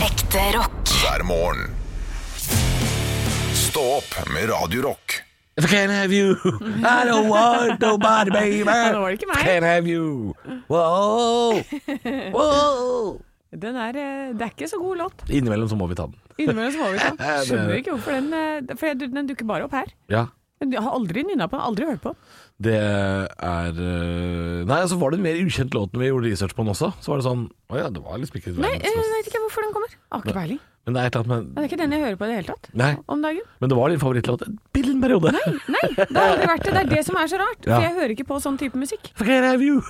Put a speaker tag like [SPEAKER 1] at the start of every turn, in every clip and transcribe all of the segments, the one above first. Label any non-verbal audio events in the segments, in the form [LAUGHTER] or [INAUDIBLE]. [SPEAKER 1] Ekte rock.
[SPEAKER 2] hver morgen. Stå opp med Radio Rock.
[SPEAKER 3] If I can't have you, I don't want nobody, baby.
[SPEAKER 4] [LAUGHS] Nå var det ikke meg.
[SPEAKER 3] If I can't have you. Wow. Wow.
[SPEAKER 4] Den er, eh, det er ikke så god låt.
[SPEAKER 3] Innimellom så må vi ta den.
[SPEAKER 4] Innimellom så må vi
[SPEAKER 3] [LAUGHS]
[SPEAKER 4] ta den.
[SPEAKER 3] Det er
[SPEAKER 4] Skjønner
[SPEAKER 3] det.
[SPEAKER 4] ikke hvorfor den eh, For jeg- den dukker bare opp her.
[SPEAKER 3] Ja.
[SPEAKER 4] Men Jeg har aldri nynna på den, aldri hørt på den.
[SPEAKER 3] Det er eh, Nei, altså var det en mer ukjent låt når vi gjorde research på den også. Så var det sånn Å ja, det var liksom ikke
[SPEAKER 4] Nei, jeg
[SPEAKER 3] verdens mest
[SPEAKER 4] vet ikke hvorfor den kommer. Har ikke peiling.
[SPEAKER 3] Men det er et eller annet
[SPEAKER 4] Det er ikke den jeg hører på i det hele tatt
[SPEAKER 3] med Nei,
[SPEAKER 4] om dagen.
[SPEAKER 3] men det var din favorittlåt en bitte liten periode. Nei.
[SPEAKER 4] Nei, det har aldri vært det. Det er det som er så rart.
[SPEAKER 3] Ja.
[SPEAKER 4] For jeg hører ikke på sånn type musikk.
[SPEAKER 3] If I can't have
[SPEAKER 4] [LAUGHS]
[SPEAKER 3] you.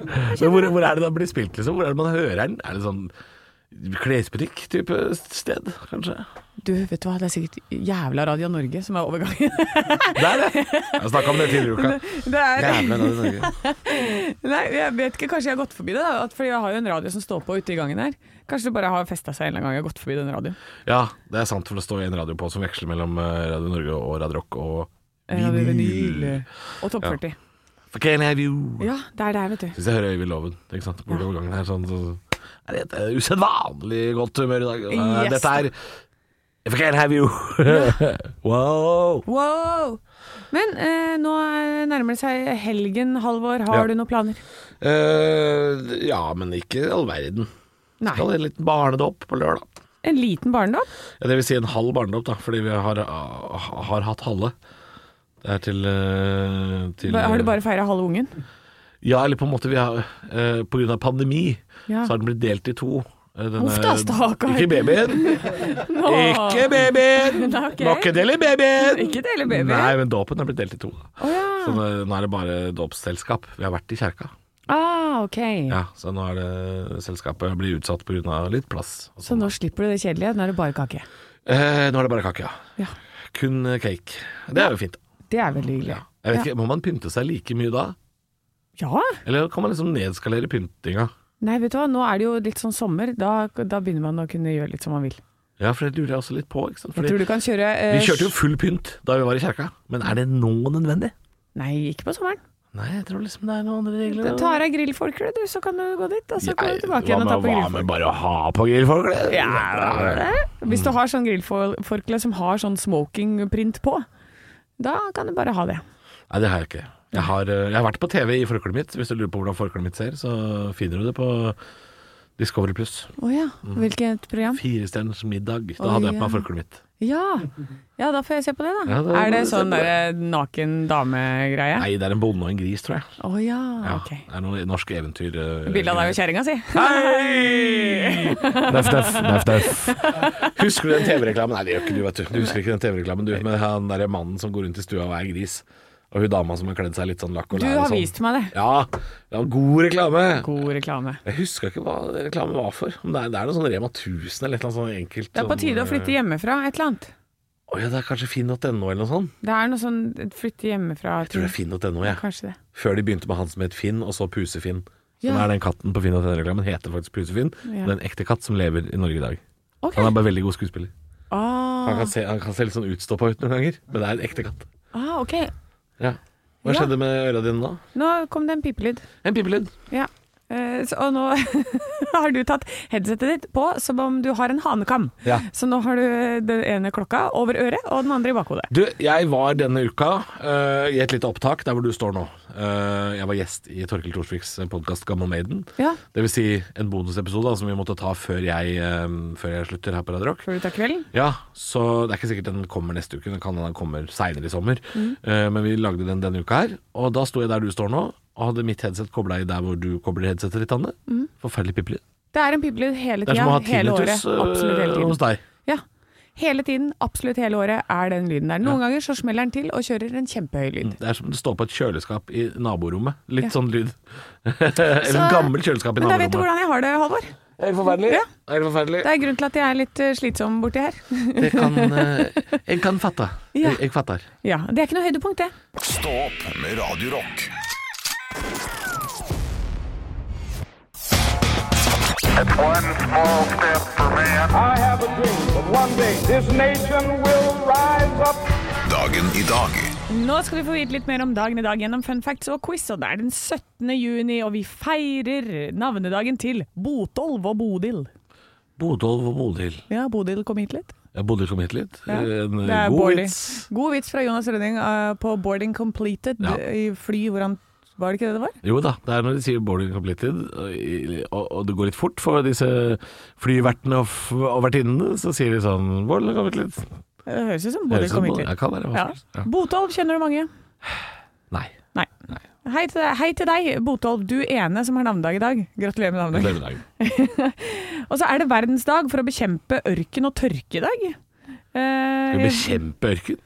[SPEAKER 3] Men hvor, hvor er det den blir spilt, liksom? Hvor er det man hører den? Er det sånn klesbutikk-type sted, kanskje?
[SPEAKER 4] Du, vet du hva, det er sikkert jævla Radio Norge som er overgangen.
[SPEAKER 3] Det er det! Jeg snakka om det tidligere i uka.
[SPEAKER 4] [LAUGHS] Det er,
[SPEAKER 3] Jævla Radio Norge.
[SPEAKER 4] [LAUGHS] nei, jeg vet ikke, kanskje jeg har gått forbi det, da. at- Fordi jeg har jo en radio som står på ute i gangen her. Kanskje det bare har festa seg en eller annen gang jeg har gått forbi den radioen.
[SPEAKER 3] [LAUGHS] Ja, det er sant, for det står en radio på som veksler mellom eh, Radio Norge og Radio Rock og
[SPEAKER 4] Radio
[SPEAKER 3] vinyl.
[SPEAKER 4] Vinyl. Og Topp
[SPEAKER 3] Ja.
[SPEAKER 4] 40.
[SPEAKER 3] For can I have you?
[SPEAKER 4] Ja, det er der, vet du.
[SPEAKER 3] Hvis jeg hører Øyvind Loven, ikke sant? Burde overgangen her sånn, så er det et usedvanlig godt humør i dag. Eh,
[SPEAKER 4] Yes.
[SPEAKER 3] Dette er If I can have you. [LAUGHS] wow.
[SPEAKER 4] Wow! Men eh, nå er- nærmer det seg helgen, Halvor. Har
[SPEAKER 3] Ja.
[SPEAKER 4] du noen planer?
[SPEAKER 3] Eh, ja, men ikke all verden.
[SPEAKER 4] Nei.
[SPEAKER 3] Skal ha en liten barnedåp på lørdag.
[SPEAKER 4] En liten barndom?
[SPEAKER 3] Ja, det vil si en halv barnedåp, da, fordi vi har, eh, har hatt halve. Det er til, eh, til
[SPEAKER 4] Har du bare feira halve ungen?
[SPEAKER 3] Ja, eller på en måte vi har eh, På grunn av pandemi
[SPEAKER 4] Ja.
[SPEAKER 3] så har den blitt delt i to. Eh, denne-
[SPEAKER 4] Uff da, stakkar.
[SPEAKER 3] Ikke babyen!
[SPEAKER 4] [LAUGHS]
[SPEAKER 3] Ikke babyen!
[SPEAKER 4] Nei, ok.
[SPEAKER 3] Må ikke dele babyen!
[SPEAKER 4] Ikke dele babyen.
[SPEAKER 3] Nei, men dåpen er blitt delt i to. da.
[SPEAKER 4] Å ja.
[SPEAKER 3] Så nå nå er det bare dåpsselskap. Vi har vært i kjerka.
[SPEAKER 4] Ah, ok.
[SPEAKER 3] Ja, så nå er det selskapet blir utsatt pga. litt plass. og
[SPEAKER 4] Så
[SPEAKER 3] sånn.
[SPEAKER 4] nå slipper du det kjedelige. Nå er det bare kake.
[SPEAKER 3] Eh, nå er det bare kake, ja.
[SPEAKER 4] Ja.
[SPEAKER 3] Kun eh, cake. Det er jo fint.
[SPEAKER 4] Det er veldig hyggelig.
[SPEAKER 3] Ja. Jeg vet ikke, Må man pynte seg like mye da?
[SPEAKER 4] Ja.
[SPEAKER 3] Eller kan man liksom nedskalere pyntinga?
[SPEAKER 4] Nei, vet du hva. Nå er det jo litt sånn sommer. Da, da begynner man å kunne gjøre litt som man vil.
[SPEAKER 3] Ja, for det lurer jeg også litt på. ikke sant?
[SPEAKER 4] Jeg tror du kan kjøre eh,
[SPEAKER 3] Vi kjørte jo full pynt da vi var i kjerka, men er det nå nødvendig?
[SPEAKER 4] Nei, ikke på sommeren.
[SPEAKER 3] Nei, jeg tror liksom det er noen andre regler.
[SPEAKER 4] Ta av deg grillforkleet, du, så kan du gå dit. Og så kommer du tilbake igjen og
[SPEAKER 3] Hva
[SPEAKER 4] ta
[SPEAKER 3] med-
[SPEAKER 4] på
[SPEAKER 3] Hva med
[SPEAKER 4] grillforkleet.
[SPEAKER 3] bare å ha på grillforkle?
[SPEAKER 4] Ja, Hvis du har sånn grillforkle som har sånn smokingprint på, da kan du bare ha det.
[SPEAKER 3] Nei, det har jeg ikke. Jeg har, eh, jeg har vært på TV i forkleet mitt. Hvis du lurer på hvordan forkleet mitt ser, så finner du det på Discovery Pluss.
[SPEAKER 4] Å ja.
[SPEAKER 3] Mm.
[SPEAKER 4] Hvilket program?
[SPEAKER 3] Firestjerners middag. Da
[SPEAKER 4] Oi,
[SPEAKER 3] hadde jeg på meg
[SPEAKER 4] ja.
[SPEAKER 3] forkleet mitt.
[SPEAKER 4] Ja. ja, da får jeg se på det, da.
[SPEAKER 3] Ja, da må
[SPEAKER 4] er
[SPEAKER 3] du
[SPEAKER 4] det
[SPEAKER 3] se
[SPEAKER 4] sånn
[SPEAKER 3] på det.
[SPEAKER 4] derre naken dame-greie?
[SPEAKER 3] Nei, det er en bonde og en gris, tror jeg.
[SPEAKER 4] Å ja,
[SPEAKER 3] Ja,
[SPEAKER 4] Ah, ok.
[SPEAKER 3] Det er noe norsk eventyr. eh,
[SPEAKER 4] Bilde av deg og kjerringa si.
[SPEAKER 3] Hei! Døff, døff, døff, døff. Husker du den TV-reklamen? Nei, det gjør ikke du, vet du. Du husker ikke den TV-reklamen, du, med han derre mannen som går rundt i stua og er gris. Og hun dama som har kledd seg litt sånn lakk og
[SPEAKER 4] Du
[SPEAKER 3] lær og
[SPEAKER 4] har
[SPEAKER 3] sånn.
[SPEAKER 4] vist meg det.
[SPEAKER 3] Ja, det var god reklame.
[SPEAKER 4] God reklame.
[SPEAKER 3] Jeg husker ikke hva reklamen var for. Om det er, det er noe sånn Rema 1000 eller et eller annet sånn enkelt
[SPEAKER 4] Det er på tide å flytte hjemmefra, et eller annet.
[SPEAKER 3] Å ja, det er kanskje finn.no eller noe sånt.
[SPEAKER 4] Det er noe sånn flytte hjemmefra
[SPEAKER 3] Jeg tror det er finn.no, jeg.
[SPEAKER 4] Kanskje det.
[SPEAKER 3] Før de begynte med han som het Finn, og så Puse-Finn. Så
[SPEAKER 4] Ja.
[SPEAKER 3] nå er den katten på Finn.no-reklamen heter faktisk Puse-Finn. Det
[SPEAKER 4] Ja.
[SPEAKER 3] er en ekte katt som lever i Norge i dag.
[SPEAKER 4] Ok.
[SPEAKER 3] Han er bare veldig god skuespiller. Han
[SPEAKER 4] Ah,
[SPEAKER 3] kan, se, han kan se litt sånn utstoppa ut noen ganger, men det er en ekte katt.
[SPEAKER 4] ah, ok.
[SPEAKER 3] Ja. Hva
[SPEAKER 4] Ja.
[SPEAKER 3] skjedde med øra dine nå?
[SPEAKER 4] Nå kom det en pipelyd.
[SPEAKER 3] En pipelyd.
[SPEAKER 4] Ja. Eh, så, og nå [LAUGHS] har du tatt headsetet ditt på som om du har en hanekam.
[SPEAKER 3] Ja.
[SPEAKER 4] Så nå har du eh, den ene klokka over øret og den andre i bakhodet.
[SPEAKER 3] Du, jeg var denne uka eh, i et lite opptak der hvor du står nå. Eh, jeg var gjest i Torkil Thorsviks podkast Gammal Maiden.
[SPEAKER 4] Ja.
[SPEAKER 3] Det vil si en bonusepisode da, som vi måtte ta før jeg, eh, før jeg slutter her på Radio Rock.
[SPEAKER 4] Før du tar kvelden.
[SPEAKER 3] Ja, så det er ikke sikkert den kommer neste uke. Den kan hende den kommer seinere i sommer. Eh, men vi lagde den denne uka her. Og da sto jeg der du står nå, og hadde mitt headset kobla i der hvor du kobler headsetet ditt, Anne. Forferdelig pipelyd.
[SPEAKER 4] Det er en pipelyd hele
[SPEAKER 3] Det er som å
[SPEAKER 4] tida.
[SPEAKER 3] ha
[SPEAKER 4] Hele året.
[SPEAKER 3] tinnitus
[SPEAKER 4] Absolutt hele
[SPEAKER 3] øh, hos
[SPEAKER 4] tiden.
[SPEAKER 3] deg.
[SPEAKER 4] Ja. Hele tiden, absolutt hele året, er den lyden der. Noen ganger så smeller den til og kjører en kjempehøy lyd.
[SPEAKER 3] Det er som det står på et kjøleskap i naborommet. Litt
[SPEAKER 4] Ja.
[SPEAKER 3] sånn lyd. [LAUGHS] Eller en gammel kjøleskap i
[SPEAKER 4] Men da vet du
[SPEAKER 3] naborommet.
[SPEAKER 4] hvordan jeg har det, Halvor.
[SPEAKER 3] Er det forferdelig?
[SPEAKER 4] Ja.
[SPEAKER 3] Er det forferdelig?
[SPEAKER 4] Det er grunnen til at jeg er litt eh, slitsom borti her. [LAUGHS]
[SPEAKER 3] Det kan, eh, jeg kan fatte.
[SPEAKER 4] Ja.
[SPEAKER 3] Jeg, jeg fatter.
[SPEAKER 4] Ja, Det er ikke noe høydepunkt, det.
[SPEAKER 2] Stå opp med Radio Rock.
[SPEAKER 5] One small step for man.
[SPEAKER 6] I have a dream that one day this nation will rise up.
[SPEAKER 2] Dagen i dag
[SPEAKER 4] Nå skal du få vite litt mer om dagen i dag gjennom fun facts og quiz. og Det er den 17. juni, og vi feirer navnedagen til Botolv og Bodil.
[SPEAKER 3] Bodolv og Bodil.
[SPEAKER 4] Ja, Bodil kom hit litt.
[SPEAKER 3] Ja, Bodil kom hit litt.
[SPEAKER 4] Ja.
[SPEAKER 3] En eh,
[SPEAKER 4] Det er
[SPEAKER 3] god
[SPEAKER 4] Bårdli.
[SPEAKER 3] vits.
[SPEAKER 4] God vits fra Jonas Rønning eh, på 'Boarding Completed' eh,
[SPEAKER 3] Ja.
[SPEAKER 4] i fly hvor han Var det ikke det det var?
[SPEAKER 3] Jo da, det er når de sier 'boarding completed', og, i- og, og det går litt fort for disse flyvertene og, f- og vertinnene, så sier de sånn 'boarding completed'.
[SPEAKER 4] Eh, Det høres ut som
[SPEAKER 3] Høres
[SPEAKER 4] Bodil
[SPEAKER 3] ut som
[SPEAKER 4] kom hit
[SPEAKER 3] Bodil. Jeg
[SPEAKER 4] litt.
[SPEAKER 3] kan være hva
[SPEAKER 4] Ja.
[SPEAKER 3] som helst. Ja.
[SPEAKER 4] Botolv kjenner du mange?
[SPEAKER 3] Nei.
[SPEAKER 4] Nei. Hei til, deg, hei til deg, Botolv, du ene som har navnedag i dag. Gratulerer med navnedag.
[SPEAKER 3] Glemmer dagen.
[SPEAKER 4] Og så er det verdensdag for å bekjempe ørken og Eh, tørke i dag.
[SPEAKER 3] Skal
[SPEAKER 4] Eh,
[SPEAKER 3] vi bekjempe ørken?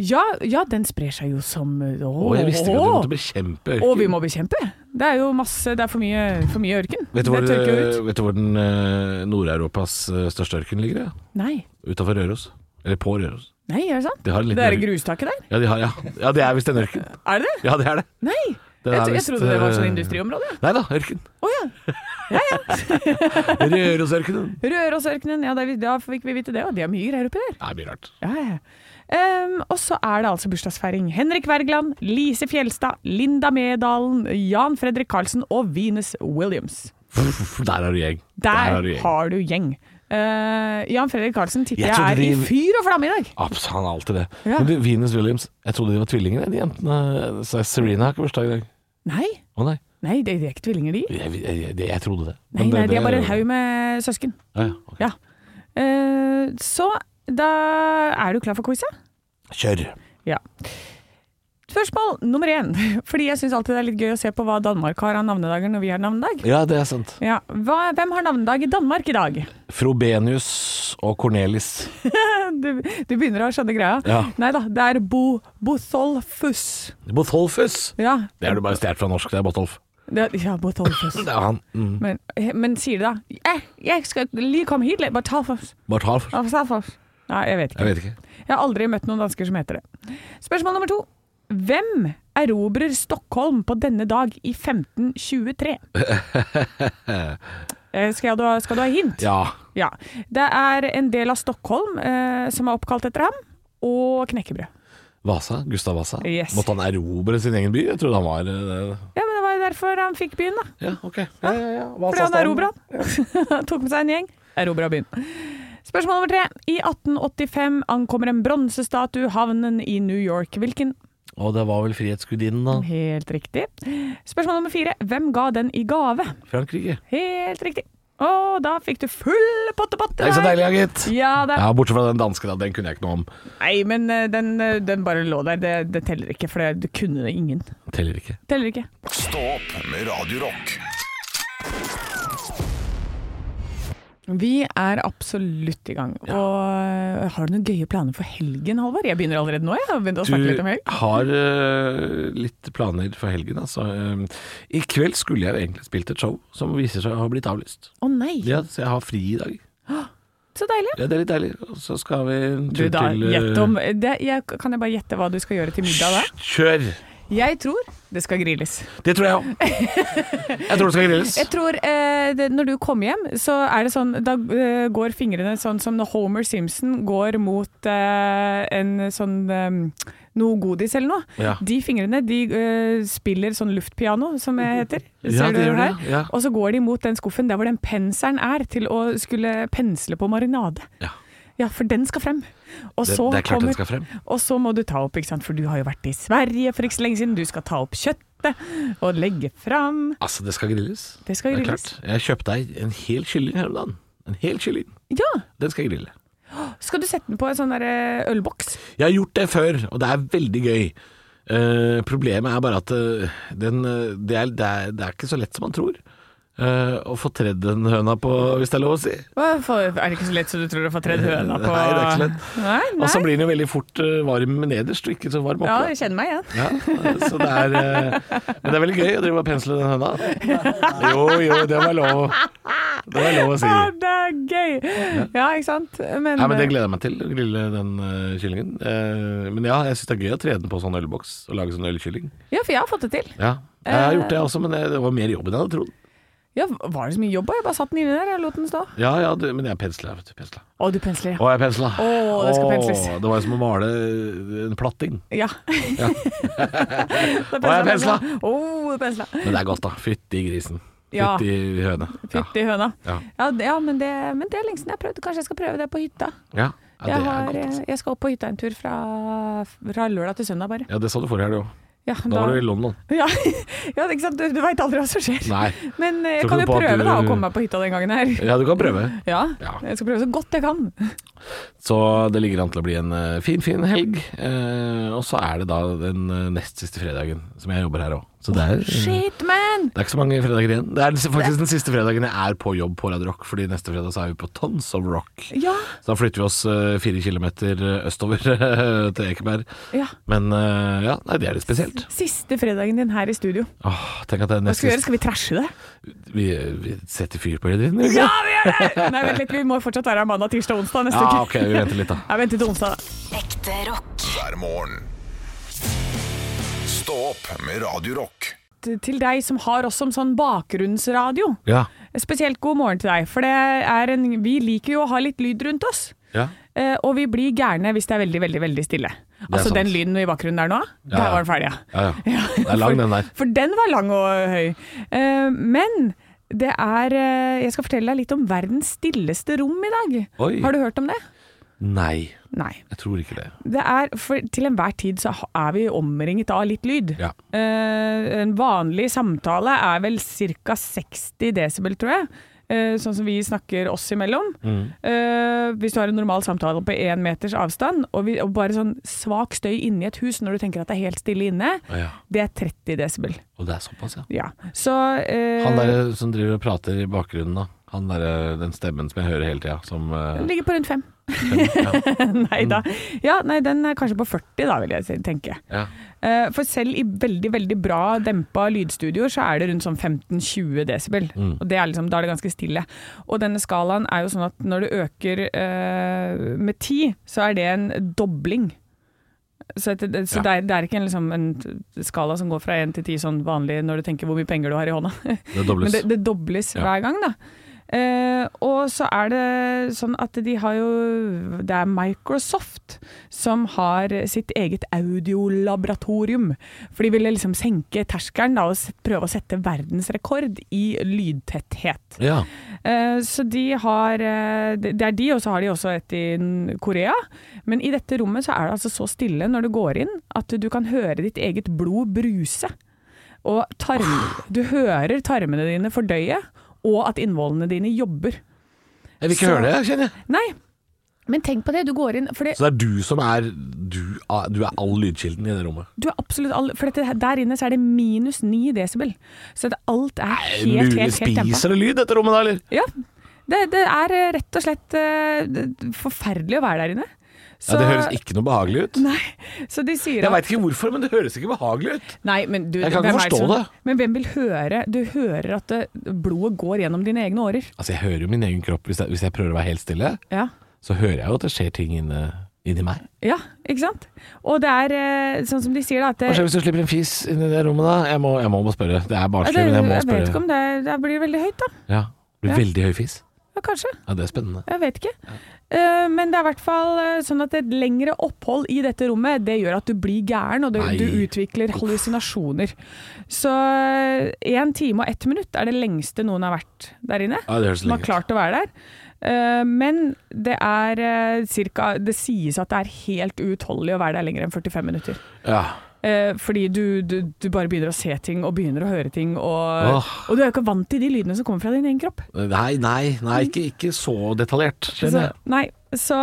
[SPEAKER 4] ja, ja, den sprer seg jo som eh, Å,
[SPEAKER 3] Å, jeg visste ikke at du måtte bekjempe ørken.
[SPEAKER 4] Og vi må bekjempe. Det er jo masse Det er for mye, for mye ørken.
[SPEAKER 3] Vet du hvor,
[SPEAKER 4] det tørker jo ut.
[SPEAKER 3] vet du hvor den eh, Nord-Europas eh, største ørken ligger? Ja?
[SPEAKER 4] Nei.
[SPEAKER 3] Utafor Røros. Eller på Røros.
[SPEAKER 4] Nei, er det sant?
[SPEAKER 3] De har en liten
[SPEAKER 4] det er
[SPEAKER 3] ørken.
[SPEAKER 4] grustaket der?
[SPEAKER 3] Ja, de har, ja. ja det er visst en ørken.
[SPEAKER 4] Er det det?
[SPEAKER 3] Ja, det er det.
[SPEAKER 4] Nei.
[SPEAKER 3] Det
[SPEAKER 4] Jeg,
[SPEAKER 3] er
[SPEAKER 4] tro- jeg
[SPEAKER 3] visst,
[SPEAKER 4] trodde det var sånn et sånt
[SPEAKER 3] eh,
[SPEAKER 4] industriområde.
[SPEAKER 3] Nei da, ørken.
[SPEAKER 4] Å ja.
[SPEAKER 3] Rørosørkenen.
[SPEAKER 4] Rørosørkenen. Ja, da, vi, da fikk vi vite det. Og de har mye greier oppi der.
[SPEAKER 3] Det er mye rart.
[SPEAKER 4] Ja, ja. Ehm, og så er det altså bursdagsfeiring. Henrik Wergeland, Lise Fjelstad, Linda Medalen, Jan Fredrik Karlsen og Venus Williams.
[SPEAKER 3] Der har du gjeng.
[SPEAKER 4] Der
[SPEAKER 3] har du gjeng.
[SPEAKER 4] har du gjeng. Eh, Jan Fredrik Karlsen tipper
[SPEAKER 3] Jeg
[SPEAKER 4] jeg,
[SPEAKER 3] trodde
[SPEAKER 4] er i
[SPEAKER 3] de-
[SPEAKER 4] fyr og flamme i dag.
[SPEAKER 3] Abs, han er alltid det.
[SPEAKER 4] Ja.
[SPEAKER 3] Men du, Venus Williams, jeg trodde de var tvillinger, de jentene. Så Serena har ikke bursdag i dag.
[SPEAKER 4] Nei,
[SPEAKER 3] Å nei.
[SPEAKER 4] nei det de er ikke tvillinger, de.
[SPEAKER 3] Jeg, jeg, jeg, jeg trodde det.
[SPEAKER 4] Nei,
[SPEAKER 3] Men
[SPEAKER 4] nei, de
[SPEAKER 3] det-
[SPEAKER 4] er bare en
[SPEAKER 3] det-
[SPEAKER 4] haug med søsken.
[SPEAKER 3] Ja, ja, ok.
[SPEAKER 4] Ja. Eh, så da er du klar for quiz, ja?
[SPEAKER 3] Kjør.
[SPEAKER 4] Ja. Spørsmål nummer én. [LAUGHS] Fordi jeg syns alltid det er litt gøy å se på hva Danmark har av navnedager når vi har navnedag.
[SPEAKER 3] Ja, det er sant.
[SPEAKER 4] Ja. Hva, hvem har navnedag i Danmark i dag? [LAUGHS]
[SPEAKER 3] Frobenius og Cornelis.
[SPEAKER 4] Du, du begynner å skjønne greia.
[SPEAKER 3] Ja.
[SPEAKER 4] Nei da, det er Bo Botholfus.
[SPEAKER 3] Botolfus.
[SPEAKER 4] Ja,
[SPEAKER 3] Det er du bare stjålet fra norsk, det er Botolf.
[SPEAKER 4] det, ja Botholfus.
[SPEAKER 3] Det er han. Mm.
[SPEAKER 4] Men, men sier de da eh, 'Jeg skal lige komme hit', litt, Botholfus.
[SPEAKER 3] Bartolf.
[SPEAKER 4] Ah. Botholfus. Nei, jeg vet ikke.
[SPEAKER 3] Jeg vet ikke.
[SPEAKER 4] Jeg har aldri møtt noen dansker som heter det. Spørsmål nummer to. Hvem erobrer Stockholm på denne dag i
[SPEAKER 3] [LAUGHS]
[SPEAKER 4] 1523? Eh, Skal, jeg, da- skal du ha hint?
[SPEAKER 3] Ja.
[SPEAKER 4] Ja. Det er en del av Stockholm eh, som er oppkalt etter ham, og knekkebrød.
[SPEAKER 3] Vasa. Gustav Vasa.
[SPEAKER 4] Yes.
[SPEAKER 3] Måtte han erobre sin egen by? Jeg trodde han var eh,
[SPEAKER 4] Ja, men Det var jo derfor han fikk byen, da.
[SPEAKER 3] Ja, ok. Ja, ja, ja.
[SPEAKER 4] Fordi han erobra den. [LAUGHS] Tok med seg en gjeng. Erobra byen. Spørsmål nummer tre. I 1885 ankommer en bronsestatue havnen i New York. Hvilken
[SPEAKER 3] Og det var vel Frihetsgudinnen, da.
[SPEAKER 4] Helt riktig. Spørsmål nummer fire. Hvem ga den i gave?
[SPEAKER 3] Frankrike.
[SPEAKER 4] Helt riktig. Og da fikk du full pottepott.
[SPEAKER 3] Det er så deilig, ja, gitt.
[SPEAKER 4] Ja, det
[SPEAKER 3] Ja, bortsett fra den danske, da. Den kunne jeg ikke noe om.
[SPEAKER 4] Nei, men eh, den, eh, den bare lå der. Det, det teller ikke, for det, du kunne det ingen.
[SPEAKER 3] Teller ikke.
[SPEAKER 4] Teller ikke.
[SPEAKER 2] Stå opp med Radio Rock.
[SPEAKER 4] Vi er absolutt i gang. Og eh, har du noen gøye planer for helgen, Halvor? Jeg begynner allerede nå, jeg. har begynt å
[SPEAKER 3] Du
[SPEAKER 4] snakke litt om helg.
[SPEAKER 3] har eh, litt planer for helgen, altså. Eh, I kveld skulle jeg jo egentlig spilt et show som viser seg å ha blitt avlyst.
[SPEAKER 4] Å nei,
[SPEAKER 3] Ja, så jeg har fri i dag.
[SPEAKER 4] så deilig.
[SPEAKER 3] Ja, det er litt deilig. Og så skal vi en
[SPEAKER 4] Du
[SPEAKER 3] tur
[SPEAKER 4] da,
[SPEAKER 3] til eh,
[SPEAKER 4] gjett om det, jeg, Kan jeg bare gjette hva du skal gjøre til middag da?
[SPEAKER 3] Kjør!
[SPEAKER 4] Jeg tror det skal grilles.
[SPEAKER 3] Det tror jeg òg. Jeg tror det skal grilles.
[SPEAKER 4] Jeg tror eh, det, Når du kommer hjem, så er det sånn Da eh, går fingrene sånn som når Homer Simpson går mot eh, en sånn eh, noe godis eller noe.
[SPEAKER 3] Ja.
[SPEAKER 4] De fingrene de eh, spiller sånn luftpiano, som det heter.
[SPEAKER 3] Ja, det gjør det, ja.
[SPEAKER 4] Og så går de mot den skuffen der hvor den penselen er, til å skulle pensle på marinade.
[SPEAKER 3] Ja.
[SPEAKER 4] Ja, for den skal frem. Og
[SPEAKER 3] Det-
[SPEAKER 4] så
[SPEAKER 3] det er klart den
[SPEAKER 4] kommer,
[SPEAKER 3] skal frem.
[SPEAKER 4] Og så må du ta opp, ikke sant? for du har jo vært i Sverige for ikke så lenge siden. Du skal ta opp kjøttet og legge fram.
[SPEAKER 3] Altså, det skal grilles.
[SPEAKER 4] Det
[SPEAKER 3] er
[SPEAKER 4] skal grilles.
[SPEAKER 3] klart. Jeg kjøpte ei en hel kylling her om dagen. En hel kylling.
[SPEAKER 4] Ja!
[SPEAKER 3] Den skal jeg grille.
[SPEAKER 4] Skal du sette den på en sånn der eh, ølboks?
[SPEAKER 3] Jeg har gjort det før, og det er veldig gøy. Eh, problemet er bare at eh, den, eh, det, er, det, er, det er ikke så lett som man tror. eh, å få tredd den høna på, hvis det er lov å si.
[SPEAKER 4] Hva for- Er det ikke så lett som du tror å få tredd høna på
[SPEAKER 3] Nei, det er ikke lett. Altså,
[SPEAKER 4] Nei,
[SPEAKER 3] Og så
[SPEAKER 4] nei.
[SPEAKER 3] blir den jo veldig fort eh, varm nederst, og ikke så varm
[SPEAKER 4] Ja,
[SPEAKER 3] oppe.
[SPEAKER 4] jeg kjenner meg igjen.
[SPEAKER 3] Ja, så det er eh, Men det er veldig gøy å drive og pensle den høna. Jo, jo, det var lov. Det var lov å si.
[SPEAKER 4] Ja, det er gøy! Ja, ikke sant? Men,
[SPEAKER 3] Nei, men Det
[SPEAKER 4] eh,
[SPEAKER 3] gleder jeg meg til, å grille den eh, kyllingen. Eh, men ja, jeg syns det er gøy å tre den på sånn ølboks og lage sånn ølkylling.
[SPEAKER 4] ja, for jeg har fått det til.
[SPEAKER 3] Ja, jeg har gjort det også, men det det var mer jobb enn jeg hadde trodd.
[SPEAKER 4] Ja, var det så mye jobb? da? Jeg bare satt den inni der og lot den stå.
[SPEAKER 3] Ja, ja, du, men jeg pensla. vet du, pensla.
[SPEAKER 4] Å, du pensler, ja.
[SPEAKER 3] Å, jeg pensla.
[SPEAKER 4] Å, det skal
[SPEAKER 3] Å,
[SPEAKER 4] pensles.
[SPEAKER 3] Det var jo som å male eh, en platting.
[SPEAKER 4] Ja. [LAUGHS]
[SPEAKER 3] Å, jeg pensla.
[SPEAKER 4] sånn. Å, du pensla.
[SPEAKER 3] Men det er godt, da. Fytti grisen.
[SPEAKER 4] Ja.
[SPEAKER 3] Fytti høne. Ja.
[SPEAKER 4] Fytti høna.
[SPEAKER 3] Ja.
[SPEAKER 4] Ja, det, ja men, det, men det er lenge siden jeg har prøvd. Kanskje jeg skal prøve det på hytta.
[SPEAKER 3] Ja. Ja, det
[SPEAKER 4] jeg,
[SPEAKER 3] er
[SPEAKER 4] har, eh,
[SPEAKER 3] godt, altså.
[SPEAKER 4] jeg skal opp på hytta en tur fra, fra lørdag til søndag, bare.
[SPEAKER 3] ja, det sa du forrige helg òg.
[SPEAKER 4] Ja,
[SPEAKER 3] Da var du i London.
[SPEAKER 4] [LAUGHS] ja, ja, ikke sant. Du, du veit aldri hva som skjer.
[SPEAKER 3] Nei.
[SPEAKER 4] Men eh,
[SPEAKER 3] Tror
[SPEAKER 4] jeg
[SPEAKER 3] du
[SPEAKER 4] kan jo
[SPEAKER 3] på at
[SPEAKER 4] prøve
[SPEAKER 3] du-
[SPEAKER 4] da å komme meg på hytta den gangen her.
[SPEAKER 3] Ja, du kan prøve.
[SPEAKER 4] Ja,
[SPEAKER 3] Ja. Mm.
[SPEAKER 4] jeg skal prøve så godt jeg kan.
[SPEAKER 3] Så det ligger an til å bli en eh, fin, fin helg. Eh, og så er det da den eh, nest siste fredagen som jeg jobber her òg. Så det er, eh,
[SPEAKER 4] Shit, man!
[SPEAKER 3] det er ikke så mange fredager igjen. Det er faktisk den siste fredagen jeg er på jobb på Radio Rock, fordi neste fredag så er vi på Tons of Rock.
[SPEAKER 4] Ja,
[SPEAKER 3] Så da flytter vi oss eh, fire kilometer eh, østover [LAUGHS] til Ekeberg.
[SPEAKER 4] ja.
[SPEAKER 3] Men eh, ja, nei, det er litt spesielt.
[SPEAKER 4] Siste fredagen din her i studio.
[SPEAKER 3] Åh, tenk at det er
[SPEAKER 4] Hva
[SPEAKER 3] nest
[SPEAKER 4] skal vi gjøre?
[SPEAKER 3] siste
[SPEAKER 4] Skal vi trashe det?
[SPEAKER 3] vi, vi setter fyr på det.
[SPEAKER 4] Ja, vi gjør det! Nei, vent litt. Vi må fortsatt være her mandag, tirsdag, onsdag neste
[SPEAKER 3] Ja,
[SPEAKER 4] uke.
[SPEAKER 3] ok, vi venter litt da.
[SPEAKER 4] Jeg venter til onsdag.
[SPEAKER 1] Ekte rock.
[SPEAKER 2] hver morgen. Stå opp med Radio Rock.
[SPEAKER 4] Til deg som har oss som sånn bakgrunnsradio.
[SPEAKER 3] Ja.
[SPEAKER 4] Spesielt god morgen til deg, for det er en, vi liker jo å ha litt lyd rundt oss.
[SPEAKER 3] Ja.
[SPEAKER 4] Eh, og vi blir gærne hvis det er veldig, veldig veldig stille. Altså
[SPEAKER 3] sant.
[SPEAKER 4] den lyden i bakgrunnen der nå, der
[SPEAKER 3] ja.
[SPEAKER 4] var den ferdig, [LAUGHS] ja.
[SPEAKER 3] Ja, ja. Det er lang den der.
[SPEAKER 4] For den var lang og høy. Eh, men det er eh, Jeg skal fortelle deg litt om verdens stilleste rom i dag.
[SPEAKER 3] Oi.
[SPEAKER 4] Har du hørt om det?
[SPEAKER 3] Nei,
[SPEAKER 4] Nei.
[SPEAKER 3] jeg tror ikke det.
[SPEAKER 4] Det er, for til enhver tid så ha- er vi omringet av litt lyd.
[SPEAKER 3] Ja.
[SPEAKER 4] Eh, en vanlig samtale er vel ca. 60 desibel, tror jeg. Eh, sånn som vi snakker oss imellom.
[SPEAKER 3] Mm.
[SPEAKER 4] Eh, hvis du har en normal samtale på én meters avstand, og, vi, og bare sånn svak støy inni et hus når du tenker at det er helt stille inne,
[SPEAKER 3] Å Ja.
[SPEAKER 4] det er 30 desibel.
[SPEAKER 3] Og det er såpass, ja.
[SPEAKER 4] Ja. Så eh,
[SPEAKER 3] Han der som driver og prater i bakgrunnen da. Han der, eh, den stemmen som jeg hører hele tida, som [LAUGHS]
[SPEAKER 4] den
[SPEAKER 3] eh,
[SPEAKER 4] ligger på rundt fem. [LAUGHS] nei da.
[SPEAKER 3] Mm.
[SPEAKER 4] Ja, nei, den er kanskje på 40, da, vil jeg si- tenke.
[SPEAKER 3] ja.
[SPEAKER 4] Eh, For selv i veldig, veldig bra dempa lydstudioer, så er det rundt sånn 15-20 desibel. Og det er liksom, da er det ganske stille. Og denne skalaen er jo sånn at når du øker eh, med 10, så er det en dobling. Så, at det, så
[SPEAKER 3] Ja.
[SPEAKER 4] det, er, det er ikke en, liksom, en skala som går fra 1 til 10 sånn vanlig når du tenker hvor mye penger du har i hånda. [LAUGHS]
[SPEAKER 3] Det dobles.
[SPEAKER 4] Men det, det dobles
[SPEAKER 3] Ja.
[SPEAKER 4] hver gang, da. Eh, og så er det sånn at de har jo Det er Microsoft som har sitt eget audiolaboratorium. For de ville liksom senke terskelen da, og s- prøve å sette verdensrekord i lydtetthet.
[SPEAKER 3] Ja.
[SPEAKER 4] Eh, Så de har eh, Det det er de, og så har de også et i N- Korea. Men i dette rommet så er det altså så stille når du går inn at du kan høre ditt eget blod bruse. Og tarm,
[SPEAKER 3] Ah.
[SPEAKER 4] du hører tarmene dine fordøye, og at innvollene dine jobber.
[SPEAKER 3] Jeg vil ikke
[SPEAKER 4] Så-
[SPEAKER 3] høre det, jeg kjenner jeg.
[SPEAKER 4] Nei, men tenk på det. Du går inn For, det,
[SPEAKER 3] Så det er du som er Du, er- du er all lydkilden i det rommet.
[SPEAKER 4] du er absolutt all, for dette, her- der inne så er det minus ni desibel. Så det, alt er
[SPEAKER 3] Er det
[SPEAKER 4] helt,
[SPEAKER 3] mulig
[SPEAKER 4] helt, helt dempa.
[SPEAKER 3] spiser det lyd, dette rommet da, eller?
[SPEAKER 4] Ja. Det, det er eh, rett og slett eh, det- forferdelig å være der inne.
[SPEAKER 3] Ja, det
[SPEAKER 4] Så-
[SPEAKER 3] høres ikke noe behagelig ut.
[SPEAKER 4] Nei, så de sier
[SPEAKER 3] Jeg
[SPEAKER 4] at
[SPEAKER 3] veit ikke hvorfor, men det høres ikke behagelig ut.
[SPEAKER 4] Nei, men du,
[SPEAKER 3] Jeg kan ikke
[SPEAKER 4] hvem er
[SPEAKER 3] forstå
[SPEAKER 4] som,
[SPEAKER 3] det.
[SPEAKER 4] Men hvem vil høre Du hører at det, blodet går gjennom dine egne årer.
[SPEAKER 3] Altså, jeg hører jo min egen kropp. Hvis jeg, hvis jeg prøver å være helt stille,
[SPEAKER 4] Ja.
[SPEAKER 3] så hører jeg jo at det skjer ting inni, inni meg.
[SPEAKER 4] ja, ikke sant? Og det er eh, sånn som de sier, da. At
[SPEAKER 3] Hva
[SPEAKER 4] det,
[SPEAKER 3] skjer hvis du slipper en fis inni det rommet, da? Jeg må, jeg må bare spørre. Det er
[SPEAKER 4] Ja,
[SPEAKER 3] barnslig,
[SPEAKER 4] det,
[SPEAKER 3] men jeg må
[SPEAKER 4] jeg vet ikke
[SPEAKER 3] spørre.
[SPEAKER 4] om det, det blir veldig høyt, da.
[SPEAKER 3] Ja. Det blir
[SPEAKER 4] Ja.
[SPEAKER 3] veldig høy fis.
[SPEAKER 4] Ja, kanskje.
[SPEAKER 3] Ja, det er spennende.
[SPEAKER 4] Jeg vet ikke. Eh, men det er i hvert fall eh, sånn at et lengre opphold i dette rommet, det gjør at du blir gæren, og du,
[SPEAKER 3] Nei.
[SPEAKER 4] du utvikler hallusinasjoner. Så én time og ett minutt er det lengste noen har vært der inne.
[SPEAKER 3] Ja, det høres
[SPEAKER 4] som har
[SPEAKER 3] lenge ut.
[SPEAKER 4] klart å være der. Eh, men det er eh, cirka Det sies at det er helt uutholdelig å være der lenger enn 45 minutter.
[SPEAKER 3] Ja.
[SPEAKER 4] Eh, fordi du, du, du bare begynner å se ting, og begynner å høre ting, og,
[SPEAKER 3] Åh.
[SPEAKER 4] og du er jo ikke vant til de lydene som kommer fra din egen kropp.
[SPEAKER 3] Nei, nei, nei, ikke, ikke så detaljert.
[SPEAKER 4] Så,
[SPEAKER 3] skjønner jeg.
[SPEAKER 4] nei, så,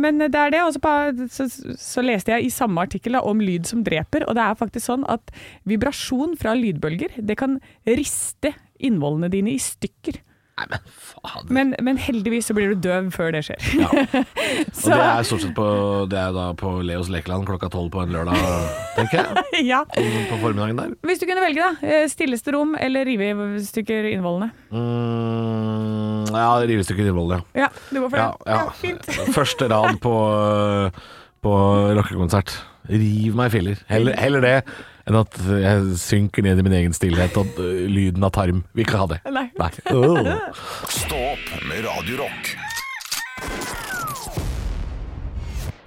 [SPEAKER 4] men det er det. Og så på- så, så leste jeg i samme artikkel da om lyd som dreper, og det er faktisk sånn at vibrasjon fra lydbølger det kan riste innvollene dine i stykker.
[SPEAKER 3] Nei, men faen.
[SPEAKER 4] Men, men heldigvis så blir du døv før det skjer. [LAUGHS]
[SPEAKER 3] Ja. Og
[SPEAKER 4] Så, [LAUGHS]
[SPEAKER 3] det er stort sett på, det er da på Leos lekeland klokka tolv på en lørdag, tenker jeg.
[SPEAKER 4] ja.
[SPEAKER 3] På formiddagen der.
[SPEAKER 4] Hvis du kunne velge, da. eh, Stilleste rom eller rive i stykker innvollene?
[SPEAKER 3] Mm, ja, rivestykket innvoll, ja.
[SPEAKER 4] Ja, du går for
[SPEAKER 3] Ja,
[SPEAKER 4] det.
[SPEAKER 3] ja. [LAUGHS] Første rad på, på rockekonsert. Riv meg i filler. Heller, heller det enn at jeg synker ned i min egen stillhet og øh, lyden av tarm. Vi kan ha det.
[SPEAKER 4] Nei.
[SPEAKER 3] Øh.
[SPEAKER 4] [LAUGHS]
[SPEAKER 2] Stå opp med Radio Rock.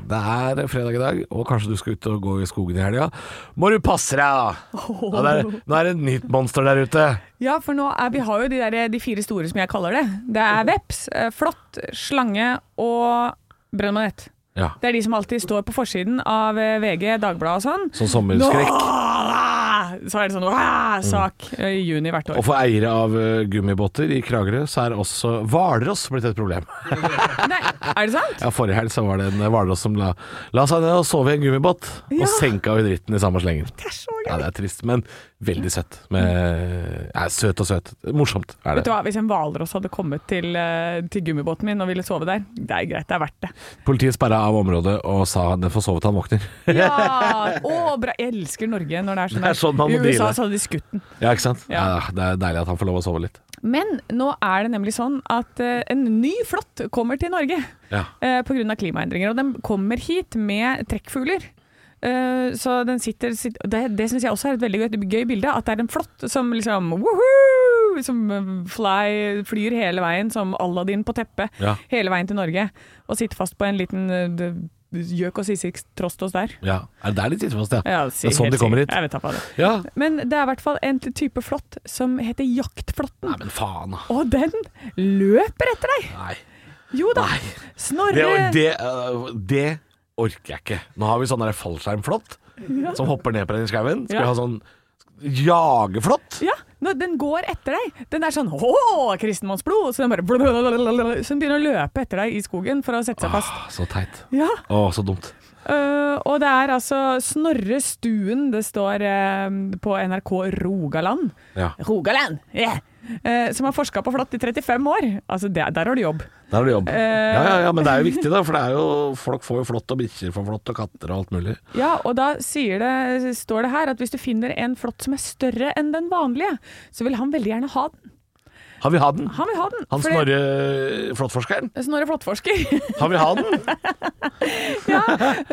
[SPEAKER 3] Det er fredag i dag, og kanskje du skal ut og gå i skogen i helga. Må du passe deg, da! Ja, det er, nå er det et nytt monster der ute.
[SPEAKER 4] Ja, for nå er, vi har jo de, der, eh, de fire store som jeg kaller det. Det er veps, eh, flått, slange og brønnmanett.
[SPEAKER 3] Ja,
[SPEAKER 4] Det er de som alltid står på forsiden av eh, VG, Dagbladet og sånn.
[SPEAKER 3] Sånn sommerskrekk.
[SPEAKER 4] Nå- [LAUGHS] Så er det sånn «Åh!» sak
[SPEAKER 3] Mm.
[SPEAKER 4] eh, i juni hvert
[SPEAKER 3] Og
[SPEAKER 4] år.
[SPEAKER 3] for eiere av eh, gummibåter i Kragerø, så er også hvalross blitt et problem.
[SPEAKER 4] Nei, er det sant?
[SPEAKER 3] Ja, Forrige helg så var det en eh, hvalross som la, la seg ned og sove i en gummibåt,
[SPEAKER 4] Ja.
[SPEAKER 3] og senka jo dritten i samme slengen.
[SPEAKER 4] Det er så
[SPEAKER 3] Ja,
[SPEAKER 4] gøy.
[SPEAKER 3] det er trist, men veldig søtt. Med, ja, søt og søt. Morsomt er
[SPEAKER 4] Vet du
[SPEAKER 3] det.
[SPEAKER 4] hva, Hvis en hvalross hadde kommet til, eh, til gummibåten min og ville sove der, det er greit, det er
[SPEAKER 3] [LAUGHS]
[SPEAKER 4] verdt det.
[SPEAKER 3] Politiet sperra av området og sa den får sove til han våkner.
[SPEAKER 4] Ja! Å, bra. Jeg elsker Norge når det er sånn.
[SPEAKER 3] Det er
[SPEAKER 4] her.
[SPEAKER 3] sånn man må
[SPEAKER 4] I USA
[SPEAKER 3] deale.
[SPEAKER 4] så hadde de skutt den.
[SPEAKER 3] Ja, ikke sant? Ja.
[SPEAKER 4] Ja.
[SPEAKER 3] det er deilig at han får lov å sove litt.
[SPEAKER 4] Men nå er det nemlig sånn at eh, en ny flått kommer til Norge
[SPEAKER 3] Ja.
[SPEAKER 4] eh, på grunn av klimaendringer. Og den kommer hit med trekkfugler. Eh, så den sitter, sit- Det, det syns jeg også er et veldig gøy, gøy bilde. At det er en flått som liksom woohoo, Som eh, fly, flyr hele veien som Aladdin på teppet
[SPEAKER 3] Ja.
[SPEAKER 4] hele veien til Norge. Og sitter fast på en liten eh, d- gjøk og sissik trostos der.
[SPEAKER 3] ja. Er det der de sitter fast, ja?
[SPEAKER 4] Ja,
[SPEAKER 3] Det er sånn de kommer hit.
[SPEAKER 4] Jeg vet da faen.
[SPEAKER 3] Ja.
[SPEAKER 4] Men det er i hvert fall en type flått som heter jaktflåtten.
[SPEAKER 3] Nei, men faen, da.
[SPEAKER 4] Og den løper etter deg!
[SPEAKER 3] Nei.
[SPEAKER 4] Jo da.
[SPEAKER 3] Det,
[SPEAKER 4] Snorre
[SPEAKER 3] det, øh, det orker jeg ikke. Nå har vi sånn der fallskjermflått som hopper ned på den i skauen. Skal vi
[SPEAKER 4] Ja.
[SPEAKER 3] ha sånn jageflått?
[SPEAKER 4] Ja, når den går etter deg. Den er sånn Å, kristenmannsblod! Så den bare blablabla, Så den begynner å løpe etter deg i skogen for å sette seg fast.
[SPEAKER 3] Åh, Ah, så teit.
[SPEAKER 4] Ja,
[SPEAKER 3] Å, så dumt.
[SPEAKER 4] øh, Og det er altså Snorre Stuen det står eh, på NRK Rogaland.
[SPEAKER 3] Ja.
[SPEAKER 4] Rogaland! Yeah. Eh, som har forska på flått i 35 år. Altså, der, der har du jobb.
[SPEAKER 3] Der har du jobb.
[SPEAKER 4] Eh.
[SPEAKER 3] Ja, ja, ja, men det er jo viktig, da. For det er jo, folk får jo flått, og bikkjer får flått, og katter og alt mulig.
[SPEAKER 4] Ja, og da sier det, står det her at hvis du finner en flått som er større enn den vanlige, så vil han veldig gjerne ha den.
[SPEAKER 3] Har vi ha den?
[SPEAKER 4] Han vil ha den.
[SPEAKER 3] Han
[SPEAKER 4] fordi-
[SPEAKER 3] Snorre Flåttforskeren?
[SPEAKER 4] Snorre Flåttforsker. [LAUGHS]
[SPEAKER 3] Har vi ha den?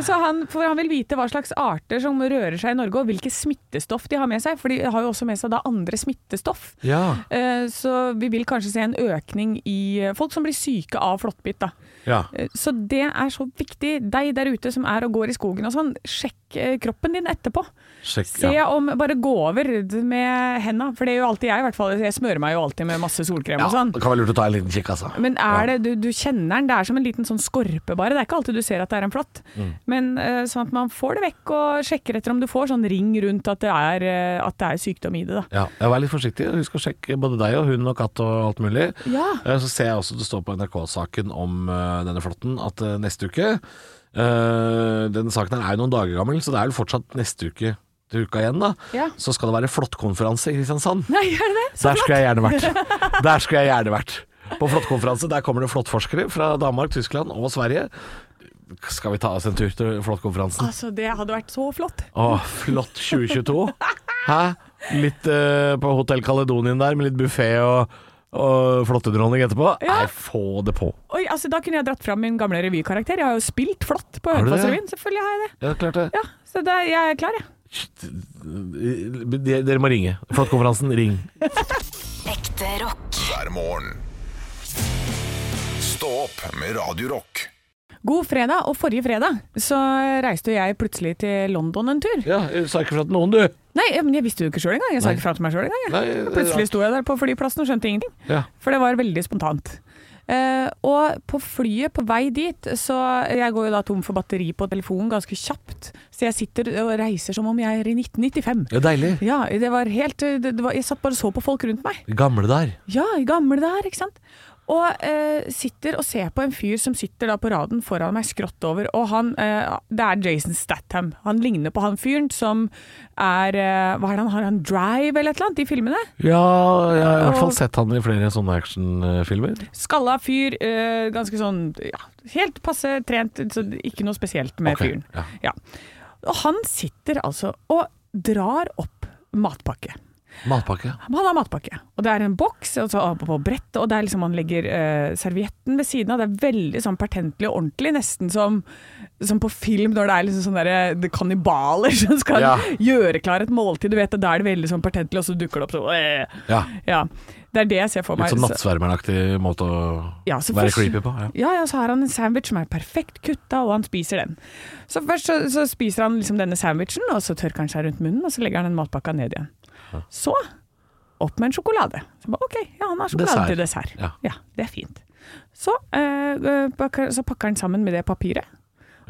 [SPEAKER 4] Så han, for han vil vite hva slags arter som rører seg i Norge, og hvilke smittestoff de har med seg. For de har jo også med seg da andre smittestoff.
[SPEAKER 3] Ja.
[SPEAKER 4] Eh, Så vi vil kanskje se en økning i eh, folk som blir syke av flåttbitt. da.
[SPEAKER 3] ja.
[SPEAKER 4] Eh, Så det er så viktig. Deg der ute som er og går i skogen og sånn, sjekk eh, kroppen din etterpå.
[SPEAKER 3] Sjekk.
[SPEAKER 4] Se
[SPEAKER 3] ja.
[SPEAKER 4] om Bare gå over med henda, for det gjør jo alltid jeg, i hvert fall. Jeg smører meg jo alltid med masse solkrem
[SPEAKER 3] Ja,
[SPEAKER 4] og sånn.
[SPEAKER 3] det kan være lurt å ta en liten kikk, altså.
[SPEAKER 4] Men er det, du, du kjenner den, det er som en liten sånn skorpe bare. Det er ikke alltid du ser at det er en flått.
[SPEAKER 3] Mm.
[SPEAKER 4] Men eh, sånn at man får det vekk og sjekker etter om du får sånn ring rundt at det er, eh, at det er sykdom i det. Da. [LAUGHS]
[SPEAKER 3] Ja, jeg Vær litt forsiktig. Husk å sjekke både deg og hund og katt og alt mulig.
[SPEAKER 4] Ja.
[SPEAKER 3] Eh, Så ser jeg også det står på NRK-saken om eh, denne flåtten at eh, neste uke eh, Denne saken her er jo noen dager gammel, så det er jo fortsatt neste uke til uka igjen, da.
[SPEAKER 4] Ja.
[SPEAKER 3] Så skal det være flåttkonferanse i Kristiansand.
[SPEAKER 4] Nei, er det det? Så
[SPEAKER 3] Der skulle jeg gjerne
[SPEAKER 4] [LAUGHS]
[SPEAKER 3] vært. Der skulle jeg gjerne vært. På flåttkonferanse. Der kommer det flåttforskere fra Danmark, Tyskland og Sverige. Skal vi ta oss en tur til flåttkonferansen?
[SPEAKER 4] Altså, det hadde vært så flott.
[SPEAKER 3] Åh, flott 2022. Hæ? Litt eh, på Hotell Caledonien der, med litt buffé og, og flåttedronning etterpå.
[SPEAKER 4] Ja.
[SPEAKER 3] Nei, få det på.
[SPEAKER 4] Oi, altså, da kunne jeg dratt fram min gamle revykarakter. Jeg har jo spilt flått på
[SPEAKER 3] Har du det?
[SPEAKER 4] Hønefossrevyen. Selvfølgelig har jeg det.
[SPEAKER 3] Ja, klart det.
[SPEAKER 4] Ja, så det, jeg er klar, jeg.
[SPEAKER 3] De- Dere må ringe. Flåttkonferansen, ring.
[SPEAKER 1] Ekte rock.
[SPEAKER 2] hver morgen. Stå opp med Radio Rock.
[SPEAKER 4] God fredag, og forrige fredag så reiste jo jeg plutselig til London en tur.
[SPEAKER 3] Ja, jeg sa ikke fra til noen, du.
[SPEAKER 4] Nei, men jeg visste jo ikke sjøl engang. Jeg sa ikke fra til meg sjøl engang. jeg.
[SPEAKER 3] Nei, det er
[SPEAKER 4] Plutselig
[SPEAKER 3] rart.
[SPEAKER 4] sto jeg der på flyplassen og skjønte ingenting.
[SPEAKER 3] Ja.
[SPEAKER 4] For det var veldig spontant. Eh, og på flyet på vei dit, så jeg går jo da tom for batteri på telefonen ganske kjapt. Så jeg sitter og reiser som om jeg er i 1995.
[SPEAKER 3] ja, deilig.
[SPEAKER 4] Ja, det var helt det, det var, Jeg satt bare og så på folk rundt meg.
[SPEAKER 3] Gamle der.
[SPEAKER 4] Ja, i gamle der, ikke sant. Og eh, sitter og ser på en fyr som sitter da på raden foran meg skrått over, og han eh, Det er Jason Statham. Han ligner på han fyren som er eh, Hva er det han har? Han Drive eller et eller annet? De filmene?
[SPEAKER 3] Ja, jeg har i hvert
[SPEAKER 4] Og-
[SPEAKER 3] fall sett han i flere sånne actionfilmer.
[SPEAKER 4] Skalla fyr, eh, ganske sånn ja, helt passe trent, så ikke noe spesielt med
[SPEAKER 3] Ok,
[SPEAKER 4] fyren.
[SPEAKER 3] ja.
[SPEAKER 4] Ja. Og han sitter altså og drar opp matpakke.
[SPEAKER 3] Matpakke.
[SPEAKER 4] Men han har matpakke. Og det er en boks og så på på brettet, og det er liksom han legger eh, servietten ved siden av. Det er veldig sånn pertentlig og ordentlig, nesten som, som på film når det er liksom sånne der, eh, kannibaler som skal
[SPEAKER 3] Ja.
[SPEAKER 4] gjøre klar et måltid. Du vet, og Da er det veldig sånn pertentlig, og så dukker det opp sånn eh.
[SPEAKER 3] Ja.
[SPEAKER 4] Ja. Det er det jeg ser for meg.
[SPEAKER 3] Litt sånn
[SPEAKER 4] Så-
[SPEAKER 3] nattsvermeraktig måte å
[SPEAKER 4] Ja, så
[SPEAKER 3] være
[SPEAKER 4] først-
[SPEAKER 3] creepy på. Ja.
[SPEAKER 4] Ja, ja, så har han en sandwich som er perfekt kutta, og han spiser den. Så først så, så spiser han liksom denne sandwichen, og så tørker han seg rundt munnen, og så legger han den matpakka ned igjen. Så opp med en sjokolade. Så bare, ok, ja, han har sjokolade
[SPEAKER 3] Dessert.
[SPEAKER 4] til dessert.
[SPEAKER 3] Ja.
[SPEAKER 4] det er fint. Så, eh, pakker, så pakker han sammen med det papiret,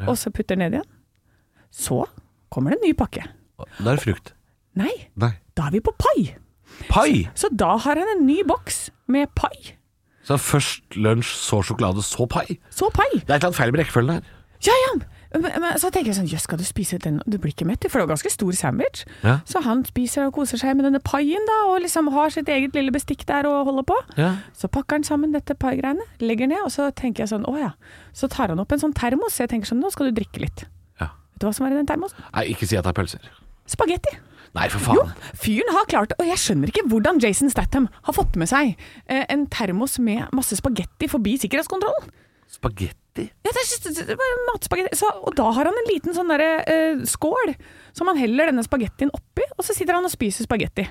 [SPEAKER 4] og så putter ned igjen. Så kommer det en ny pakke.
[SPEAKER 3] Da er det frukt.
[SPEAKER 4] Nei,
[SPEAKER 3] Nei.
[SPEAKER 4] da er vi på pai.
[SPEAKER 3] Pai!
[SPEAKER 4] Så da har han en ny boks med pai.
[SPEAKER 3] Så først lunsj, så sjokolade, så pai. Det
[SPEAKER 4] Så pai.
[SPEAKER 3] er et eller annet feil med rekkefølgen her.
[SPEAKER 4] Ja, ja. Men, men, så tenker jeg sånn, jøss, skal du spise den? Du blir ikke mett, for det var ganske stor sandwich.
[SPEAKER 3] Ja.
[SPEAKER 4] Så han spiser og koser seg med denne paien da, og liksom har sitt eget lille bestikk der og holder på.
[SPEAKER 3] Ja.
[SPEAKER 4] Så pakker han sammen dette paigreiene, legger ned, og så tenker jeg sånn, å ja. Så tar han opp en sånn termos, jeg tenker sånn, nå skal du drikke litt.
[SPEAKER 3] Ja.
[SPEAKER 4] Vet du hva som er i den termosen?
[SPEAKER 3] Nei, ikke si at det er pølser.
[SPEAKER 4] Spagetti.
[SPEAKER 3] Nei, for
[SPEAKER 4] Jo,
[SPEAKER 3] faen.
[SPEAKER 4] fyren har klart det, og jeg skjønner ikke hvordan Jason Statham har fått med seg eh, en termos med masse spagetti forbi sikkerhetskontrollen.
[SPEAKER 3] Spagetti?
[SPEAKER 4] Ja, det er just- det er bare matspagetti. Så, og da har han en liten sånn derre eh, skål som han heller denne spagettien oppi, og så sitter han og spiser spagetti.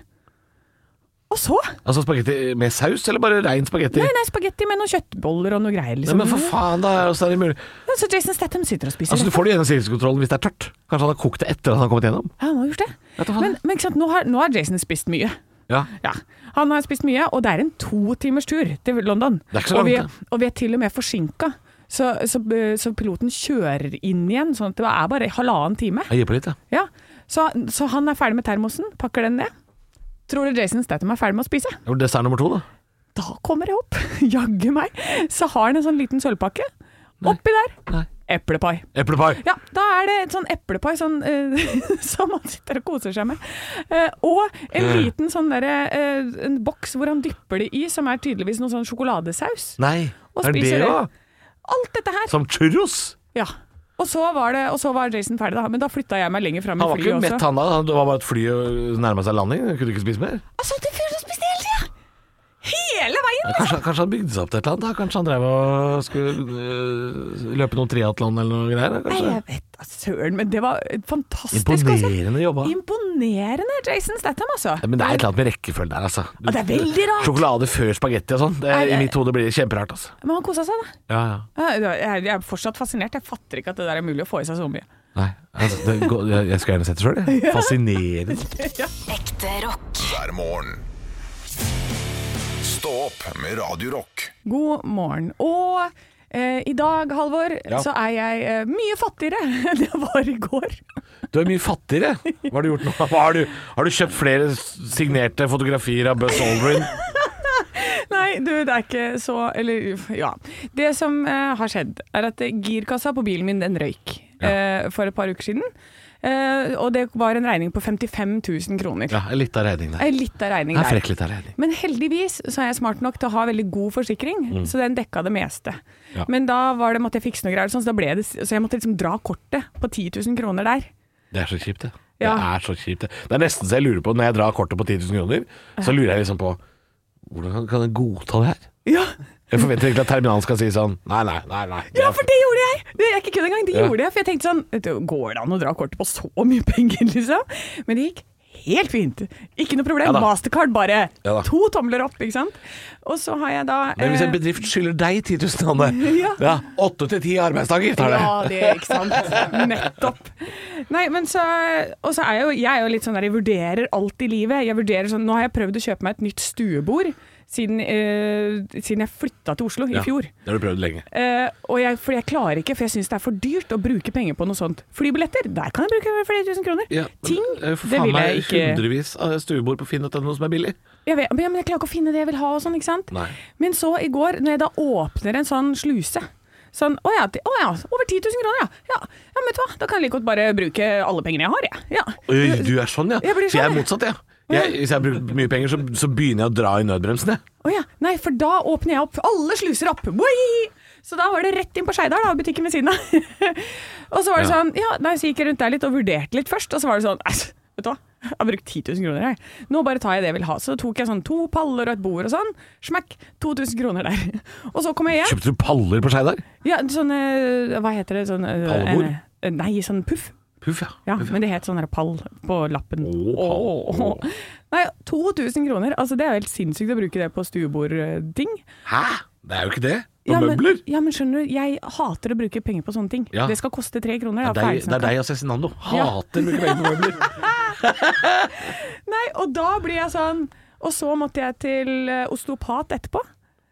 [SPEAKER 4] Og så
[SPEAKER 3] Altså spagetti med saus, eller bare rein spagetti?
[SPEAKER 4] Nei, nei, spagetti med noen kjøttboller og noe greier,
[SPEAKER 3] Nei,
[SPEAKER 4] liksom.
[SPEAKER 3] men for faen, da. Hvordan er det mulig?
[SPEAKER 4] Ja, så Jason Statham sitter og spiser
[SPEAKER 3] Altså, du
[SPEAKER 4] dette.
[SPEAKER 3] får det gjennom sikkerhetskontrollen hvis det er tørt. Kanskje han har kokt det etter at han har kommet gjennom.
[SPEAKER 4] Ja, han har gjort det.
[SPEAKER 3] Vet du hva?
[SPEAKER 4] Men, men ikke sant, nå har, nå har Jason spist mye.
[SPEAKER 3] Ja.
[SPEAKER 4] Ja, han har spist mye, og det er en to timers tur til London.
[SPEAKER 3] Det er ikke så
[SPEAKER 4] og, vi,
[SPEAKER 3] langt,
[SPEAKER 4] og vi er til og med forsinka. Så, så, så piloten kjører inn igjen, sånn at det er bare halvannen time.
[SPEAKER 3] Jeg gir på litt, jeg.
[SPEAKER 4] Ja, så, så han er ferdig med termosen, pakker den ned. Tror du Jason Statham er ferdig med å spise?
[SPEAKER 3] Ja. men Dessert nummer to, da.
[SPEAKER 4] Da kommer jeg opp, [LAUGHS] jaggu meg, så har han en sånn liten sølvpakke. Oppi der,
[SPEAKER 3] Nei.
[SPEAKER 4] eplepai.
[SPEAKER 3] Eplepai.
[SPEAKER 4] Ja, da er det et sånn eplepai sånn, eh, [LAUGHS] som han sitter og koser seg med. Eh, og en liten sånn derre eh, en boks hvor han dypper det i, som er tydeligvis noe sånn sjokoladesaus.
[SPEAKER 3] Nei.
[SPEAKER 4] Og
[SPEAKER 3] Er det
[SPEAKER 4] spiser
[SPEAKER 3] det,
[SPEAKER 4] det.
[SPEAKER 3] da?
[SPEAKER 4] Alt dette her.
[SPEAKER 3] Som churros?
[SPEAKER 4] Ja. Og så var, det, og så var Jason ferdig, da. Men da flytta jeg meg lenger fram i
[SPEAKER 3] Han var ikke
[SPEAKER 4] flyet
[SPEAKER 3] mett,
[SPEAKER 4] også.
[SPEAKER 3] han da. Det var bare at flyet nærma seg landing. Han Kunne ikke spise mer.
[SPEAKER 4] Altså, det fyren som spiste hele tida! Hele veien!
[SPEAKER 3] Kanskje, kanskje han bygde seg opp til et eller annet? da. Kanskje han drev og skulle øh, løpe noen triatlon eller noe greier? da,
[SPEAKER 4] Nei,
[SPEAKER 3] Kanskje?
[SPEAKER 4] jeg vet da søren, men det var fantastisk.
[SPEAKER 3] Imponerende jobba.
[SPEAKER 4] Altså. Imponerende Jason Statham, altså.
[SPEAKER 3] Ja, Men det er et eller annet med rekkefølgen der, altså.
[SPEAKER 4] Ja, det er veldig rart.
[SPEAKER 3] Sjokolade før spagetti og sånn. Det
[SPEAKER 4] Nei,
[SPEAKER 3] er, I
[SPEAKER 4] det-
[SPEAKER 3] mitt hode blir det kjemperart, altså.
[SPEAKER 4] Men han kosa seg, da.
[SPEAKER 3] Ja, ja.
[SPEAKER 4] Ja, det var- Jeg jeg er fortsatt fascinert. Jeg fatter ikke at det der er mulig å få i seg så mye.
[SPEAKER 3] Nei, altså, det går, jeg, jeg skal gjerne sett det sjøl, jeg. Fascinerende.
[SPEAKER 1] Ekte rock.
[SPEAKER 2] hver morgen. Stå opp med Radio Rock.
[SPEAKER 4] God morgen. Og eh, i dag, Halvor,
[SPEAKER 3] Ja.
[SPEAKER 4] så er jeg eh, mye fattigere [LAUGHS] enn jeg var i går.
[SPEAKER 3] Du er mye fattigere. Hva har du gjort nå? Hva har, du, har du kjøpt flere signerte fotografier av Buzz Aldrin?
[SPEAKER 4] Nei, du, det er ikke så Eller, uff, ja. Det som eh, har skjedd, er at eh, girkassa på bilen min, den røyk eh, for et par uker siden. Eh, og det var en regning på 55 000 kroner.
[SPEAKER 3] Ja, litt av redning der.
[SPEAKER 4] Eh, Litt av regning
[SPEAKER 3] Jeg er
[SPEAKER 4] der.
[SPEAKER 3] frekk litt av redning.
[SPEAKER 4] Men heldigvis så er jeg smart nok til å ha veldig god forsikring, så den dekka det meste.
[SPEAKER 3] Mm. Ja.
[SPEAKER 4] Men da var det, måtte jeg fikse noe greier, og sånn, så, da ble det, så jeg måtte liksom dra kortet på 10 000 kroner der.
[SPEAKER 3] Det er så kjipt, det.
[SPEAKER 4] Ja.
[SPEAKER 3] Det er så kjipt, det. Det er nesten så jeg lurer på, når jeg drar kortet på 10 000 kroner, så lurer jeg liksom på Hvordan kan- kan jeg godta det her?
[SPEAKER 4] Ja,
[SPEAKER 3] Jeg forventer egentlig at terminalen skal si sånn Nei, nei, nei. nei.
[SPEAKER 4] for det gjorde jeg! Det er ikke kødd engang, det
[SPEAKER 3] Ja.
[SPEAKER 4] gjorde jeg. For jeg tenkte sånn vet du, Går det an å dra kortet på så mye penger, liksom? Men det gikk helt fint. Ikke noe problem.
[SPEAKER 3] Ja da.
[SPEAKER 4] Mastercard bare.
[SPEAKER 3] Ja da.
[SPEAKER 4] to tomler opp, ikke sant. Og så har jeg da
[SPEAKER 3] Men hvis
[SPEAKER 4] eh,
[SPEAKER 3] en bedrift skylder deg 10 000, Anne
[SPEAKER 4] Ja.
[SPEAKER 3] ja, Åtte til ti arbeidsdager tar det.
[SPEAKER 4] Ja, det er ikke sant. Nettopp. Nei, men så Og så er jeg jo, jeg er jo litt sånn der jeg vurderer alt i livet. Jeg vurderer sånn Nå har jeg prøvd å kjøpe meg et nytt stuebord siden, eh, siden jeg flytta til Oslo i fjor.
[SPEAKER 3] Det har du prøvd lenge.
[SPEAKER 4] Eh, og jeg, fordi jeg klarer ikke, for jeg syns det er for dyrt å bruke penger på noe sånt. Flybilletter, der kan jeg bruke flere tusen kroner. Ting,
[SPEAKER 3] det er jo eh, for
[SPEAKER 4] det
[SPEAKER 3] faen
[SPEAKER 4] vil jeg
[SPEAKER 3] meg
[SPEAKER 4] ikke
[SPEAKER 3] hundrevis av stuebord på finn.no som er billig.
[SPEAKER 4] jeg vet, men jeg klarer ikke å finne det jeg vil ha og sånn, ikke sant?
[SPEAKER 3] Nei.
[SPEAKER 4] Men så i går, når jeg da åpner en sånn sluse Sånn, å ja, ti- å ja, over 10 000 kroner, ja. ja. Ja, men vet du hva, da kan jeg like godt bare bruke alle pengene jeg har, jeg. Ja.
[SPEAKER 3] Oi, du er sånn, ja.
[SPEAKER 4] Jeg blir
[SPEAKER 3] For jeg er
[SPEAKER 4] sånn, jeg.
[SPEAKER 3] motsatt, jeg. jeg. Hvis jeg bruker mye penger, så, så begynner jeg å dra i nødbremsen, jeg.
[SPEAKER 4] Å ja. Nei, for da åpner jeg opp. Alle sluser opp. Woi! Så da var det rett inn på Skeidar, da, butikken ved siden av. [LAUGHS] og så var det
[SPEAKER 3] Ja.
[SPEAKER 4] sånn, ja, nei, så gikk jeg rundt der litt og vurderte litt først, og så var det sånn, æsj, vet du hva, Jeg har brukt 10 000 kroner, jeg. Nå bare tar jeg det jeg vil ha. Så tok jeg sånn to paller og et bord og sånn. Smekk! 2000 kroner der. [LAUGHS] Og så kom jeg hjem.
[SPEAKER 3] Kjøpte du paller på Skeidar?
[SPEAKER 4] Ja, sånne Hva heter det? Sånn, eh,
[SPEAKER 3] Pallbord?
[SPEAKER 4] en- eh, Nei, sånn puff.
[SPEAKER 3] Puff, ja.
[SPEAKER 4] Ja,
[SPEAKER 3] Puff,
[SPEAKER 4] men det het sånn der pall på lappen.
[SPEAKER 3] Å, pall.
[SPEAKER 4] Åh. Nei, 2000 kroner. Altså, det er jo helt sinnssykt å bruke det på stuebordting.
[SPEAKER 3] Hæ? Det er jo ikke det. På
[SPEAKER 4] Ja, men,
[SPEAKER 3] møbler.
[SPEAKER 4] ja, men skjønner du, jeg hater å bruke penger på sånne ting.
[SPEAKER 3] Ja.
[SPEAKER 4] Det skal koste tre
[SPEAKER 3] Det
[SPEAKER 4] kroner. da,
[SPEAKER 3] er deg, det
[SPEAKER 4] ferdigsnakka.
[SPEAKER 3] er deg og Cezinando.
[SPEAKER 4] Ja.
[SPEAKER 3] Hater å bruke penger på
[SPEAKER 4] [LAUGHS]
[SPEAKER 3] møbler.
[SPEAKER 4] Nei, og da blir jeg sånn Og så måtte jeg til eh, osteopat etterpå.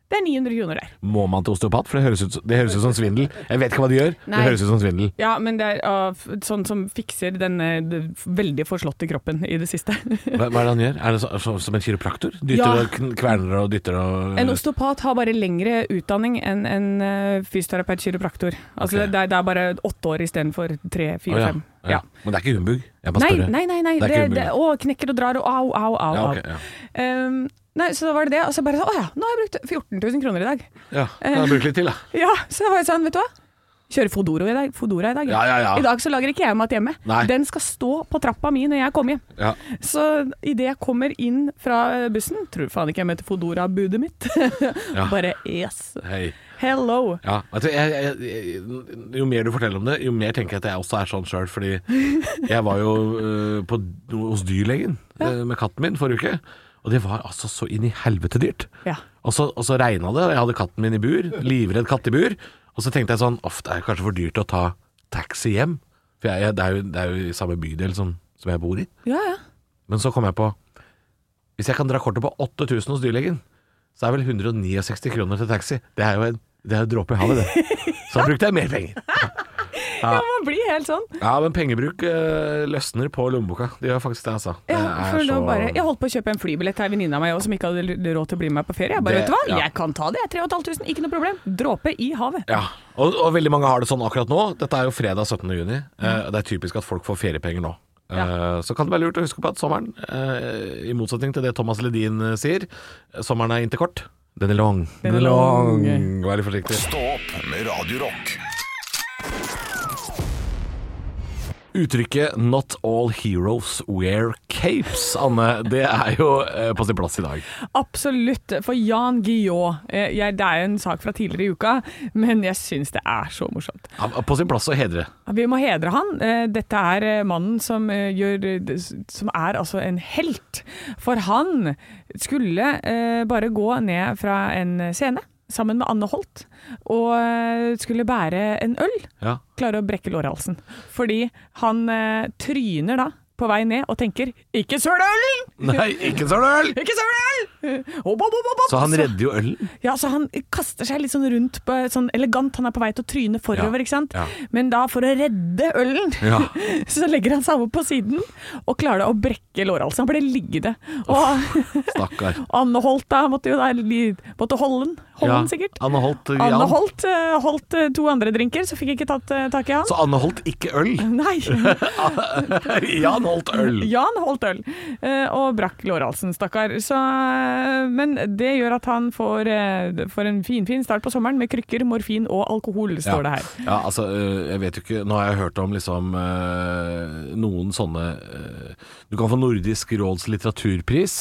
[SPEAKER 4] Det er 900 kroner der.
[SPEAKER 3] Må man til osteopat? For det høres ut, det høres ut som svindel. Jeg vet ikke hva de gjør.
[SPEAKER 4] Nei.
[SPEAKER 3] Det høres ut som svindel.
[SPEAKER 4] Ja, men det er ah, f- sånn som fikser den eh, d- veldig forslåtte kroppen i det siste. [LAUGHS]
[SPEAKER 3] Hva, hva er det han gjør? Er det så, så, som en kiropraktor? Dytter
[SPEAKER 4] Ja.
[SPEAKER 3] og kn- kverner og dytter og
[SPEAKER 4] En osteopat har bare lengre utdanning enn en eh, fysioterapeut kiropraktor. Altså
[SPEAKER 3] Ok.
[SPEAKER 4] det, er- det er bare åtte år istedenfor tre,
[SPEAKER 3] Å,
[SPEAKER 4] fire,
[SPEAKER 3] ja.
[SPEAKER 4] fem.
[SPEAKER 3] Ja.
[SPEAKER 4] Ja.
[SPEAKER 3] Men det er ikke humbug? Jeg bare
[SPEAKER 4] Nei,
[SPEAKER 3] spør.
[SPEAKER 4] nei, nei. nei.
[SPEAKER 3] Det
[SPEAKER 4] Det
[SPEAKER 3] er ikke
[SPEAKER 4] det,
[SPEAKER 3] umulig.
[SPEAKER 4] å, knekker og drar og au, au, au.
[SPEAKER 3] Ja,
[SPEAKER 4] au.
[SPEAKER 3] ok, ja.
[SPEAKER 4] Um, nei, så da var det det. Og så bare sånn, å ja, nå har jeg brukt 14 000 kroner i dag.
[SPEAKER 3] ja. Jeg har brukt litt til, da.
[SPEAKER 4] Ja, så da var jeg sånn, vet du hva? Kjøre Fodoro i dag. Fodora i dag.
[SPEAKER 3] Ja, ja, ja.
[SPEAKER 4] I dag så lager ikke jeg mat hjemme.
[SPEAKER 3] Nei.
[SPEAKER 4] Den skal stå på trappa mi når jeg kommer hjem.
[SPEAKER 3] Ja.
[SPEAKER 4] Så idet jeg kommer inn fra bussen, tror faen ikke jeg møter Fodora-budet mitt.
[SPEAKER 3] Ja.
[SPEAKER 4] [LAUGHS] Bare yes.
[SPEAKER 3] Hei.
[SPEAKER 4] Hello.
[SPEAKER 3] Ja, vet du, jeg, jeg, jeg, jo mer du forteller om det, jo mer tenker jeg at jeg også er sånn sjøl. Fordi jeg var jo øh, på, hos dyrlegen øh, med katten min forrige uke, og det var altså så inn i helvete dyrt.
[SPEAKER 4] Ja.
[SPEAKER 3] Og så, og så regna det, og jeg hadde katten min i bur, livredd katt i bur. Og så tenkte jeg sånn Uff, det er kanskje for dyrt å ta taxi hjem. For jeg, jeg, det, er jo, det er jo i samme bydel som, som jeg bor i.
[SPEAKER 4] Ja, ja.
[SPEAKER 3] Men så kom jeg på Hvis jeg kan dra kortet på 8000 hos dyrlegen, så er vel 169 kroner til taxi. Det er jo en det er jo en dråpe i havet, det. Så da brukte jeg mer penger.
[SPEAKER 4] ja, man blir helt sånn.
[SPEAKER 3] Ja, men pengebruk eh, løsner på lommeboka. Det gjør faktisk det, altså. Det
[SPEAKER 4] Ja,
[SPEAKER 3] er
[SPEAKER 4] for da
[SPEAKER 3] så-
[SPEAKER 4] bare, jeg holdt på å kjøpe en flybillett til ei venninne av meg også, som ikke hadde l- råd til å bli med meg på ferie. Jeg bare,
[SPEAKER 3] Det-
[SPEAKER 4] vet du hva,
[SPEAKER 3] ja.
[SPEAKER 4] jeg kan ta det. jeg. 3500, ikke noe problem. Dråpe i havet.
[SPEAKER 3] Ja, og, og veldig mange har det sånn akkurat nå. Dette er jo fredag 17. juni. Eh,
[SPEAKER 4] Mm.
[SPEAKER 3] og det er typisk at folk får feriepenger nå. Eh, Så kan det være lurt å huske på at sommeren, eh, i motsetning til det Thomas Ledin eh, sier, eh, sommeren er ikke kort. Den er lang.
[SPEAKER 4] Den er lang.
[SPEAKER 3] Vær litt forsiktig.
[SPEAKER 2] Stå opp med Radio Rock.
[SPEAKER 3] Uttrykket 'not all heroes wear capes', Anne, det er jo eh, på sin plass i dag.
[SPEAKER 4] Absolutt. For Jan Guillaud eh, jeg, Det er jo en sak fra tidligere i uka, men jeg syns det er så morsomt.
[SPEAKER 3] Ja, På sin plass å hedre.
[SPEAKER 4] Vi må hedre han. Eh, Dette er eh, mannen som, eh, gjør, som er altså en helt. For han skulle eh, bare gå ned fra en scene sammen med Anne Holt, og eh, skulle bære en øl.
[SPEAKER 3] Ja.
[SPEAKER 4] klarer å brekke lårhalsen. Fordi han eh, tryner da på vei ned og tenker 'ikke søl ølen!
[SPEAKER 3] Nei, ikke søl øl!
[SPEAKER 4] Ikke søl øl!' [LAUGHS] Opp, opp, opp, opp, opp.
[SPEAKER 3] Så han redder jo ølen.
[SPEAKER 4] Ja, så han kaster seg litt sånn rundt, på, sånn elegant. Han er på vei til å tryne
[SPEAKER 3] Ja,
[SPEAKER 4] forover, ikke sant.
[SPEAKER 3] ja.
[SPEAKER 4] Men da, for å redde ølen,
[SPEAKER 3] Ja.
[SPEAKER 4] [LAUGHS] så legger han seg over på siden og klarer da å brekke lårhalsen. Han ble liggende. [LAUGHS] Og
[SPEAKER 3] Stakkar.
[SPEAKER 4] Anne Holt da måtte jo da li- måtte holde den, holde den sikkert.
[SPEAKER 3] Anne Holt. eh,
[SPEAKER 4] Anne
[SPEAKER 3] Jan.
[SPEAKER 4] Holt eh, holdt eh, to andre drinker, så fikk ikke tatt eh, tak i han.
[SPEAKER 3] Så Anne Holt ikke øl.
[SPEAKER 4] [LAUGHS]
[SPEAKER 3] [LAUGHS]
[SPEAKER 4] Nei.
[SPEAKER 3] Jan Holt øl.
[SPEAKER 4] Jan holdt øl eh, og brakk lårhalsen, stakkar. Så, eh, men det gjør at han får, eh, får en finfin fin start på sommeren med krykker, morfin og alkohol, står det her.
[SPEAKER 3] Ja, altså, øh, jeg vet jo ikke Nå har jeg hørt om liksom øh, noen sånne øh, Du kan få Nordisk råds litteraturpris.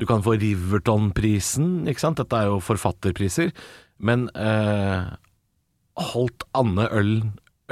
[SPEAKER 3] Du kan få Riverton-prisen, ikke sant? Dette er jo forfatterpriser. Men øh, holdt Anne Øl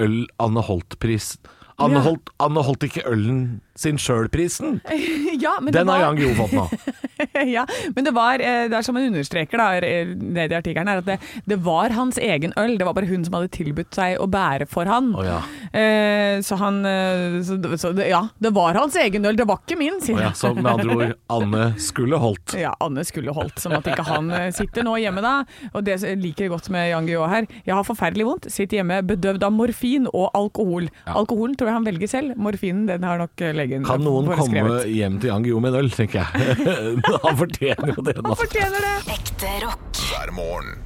[SPEAKER 3] Øl Anne Holt-pris Anne,
[SPEAKER 4] Ja.
[SPEAKER 3] Holt, Anne holdt ikke ølen sin sjøl-prisen!
[SPEAKER 4] [LAUGHS] ja, men det
[SPEAKER 3] Den har
[SPEAKER 4] var-
[SPEAKER 3] Jan Guillou fått nå.
[SPEAKER 4] ja, men det var eh, Det er som han understreker da, eh, nede i artikkelen, her, at det, det var hans egen øl. Det var bare hun som hadde tilbudt seg å bære for han.
[SPEAKER 3] Å ja.
[SPEAKER 4] eh, så han eh, så, så, det- Ja, det var hans egen øl, det var ikke min, sier
[SPEAKER 3] Å ja,
[SPEAKER 4] han.
[SPEAKER 3] så med andre ord, Anne skulle holdt.
[SPEAKER 4] Ja, Anne skulle holdt, som at ikke han eh, sitter nå hjemme da. Og det liker jeg godt med Jan Guillaud her. Jeg har forferdelig vondt, sitter hjemme bedøvd av morfin og alkohol. Alkoholen tror jeg han velger selv, morfinen den har nok eh, legen
[SPEAKER 3] Kan noen komme
[SPEAKER 4] foreskrevet.
[SPEAKER 3] hjem til Jan Guillou med en øl, tenker jeg. [LAUGHS] Han fortjener jo det. nå.
[SPEAKER 4] Han fortjener det!
[SPEAKER 1] Ekte rock.
[SPEAKER 2] hver morgen.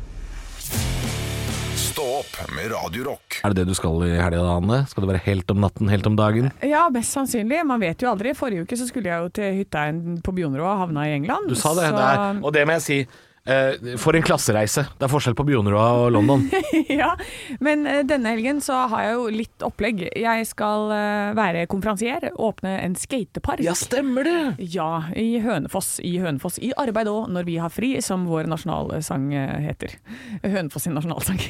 [SPEAKER 2] Stå opp med Radio Rock.
[SPEAKER 3] Er det det du skal i helga, da, Anne? Skal det være helt om natten, helt om dagen?
[SPEAKER 4] Ja, mest sannsynlig. Man vet jo aldri. Forrige uke så skulle jeg jo til hytta en- på Bjonerå og havna i England.
[SPEAKER 3] Du sa det.
[SPEAKER 4] så- [LAUGHS]
[SPEAKER 3] det er, og det må jeg si. Eh, for en klassereise. Det er forskjell på Bjonerøa og
[SPEAKER 4] [LAUGHS]
[SPEAKER 3] London.
[SPEAKER 4] ja, men eh, denne helgen så har jeg jo litt opplegg. Jeg skal eh, være konferansier, åpne en skatepark.
[SPEAKER 3] stemmer det!
[SPEAKER 4] Ja, i Hønefoss. I Hønefoss i arbeid òg, når vi har fri, som vår nasjonalsang eh, heter. Hønefoss sin nasjonalsang.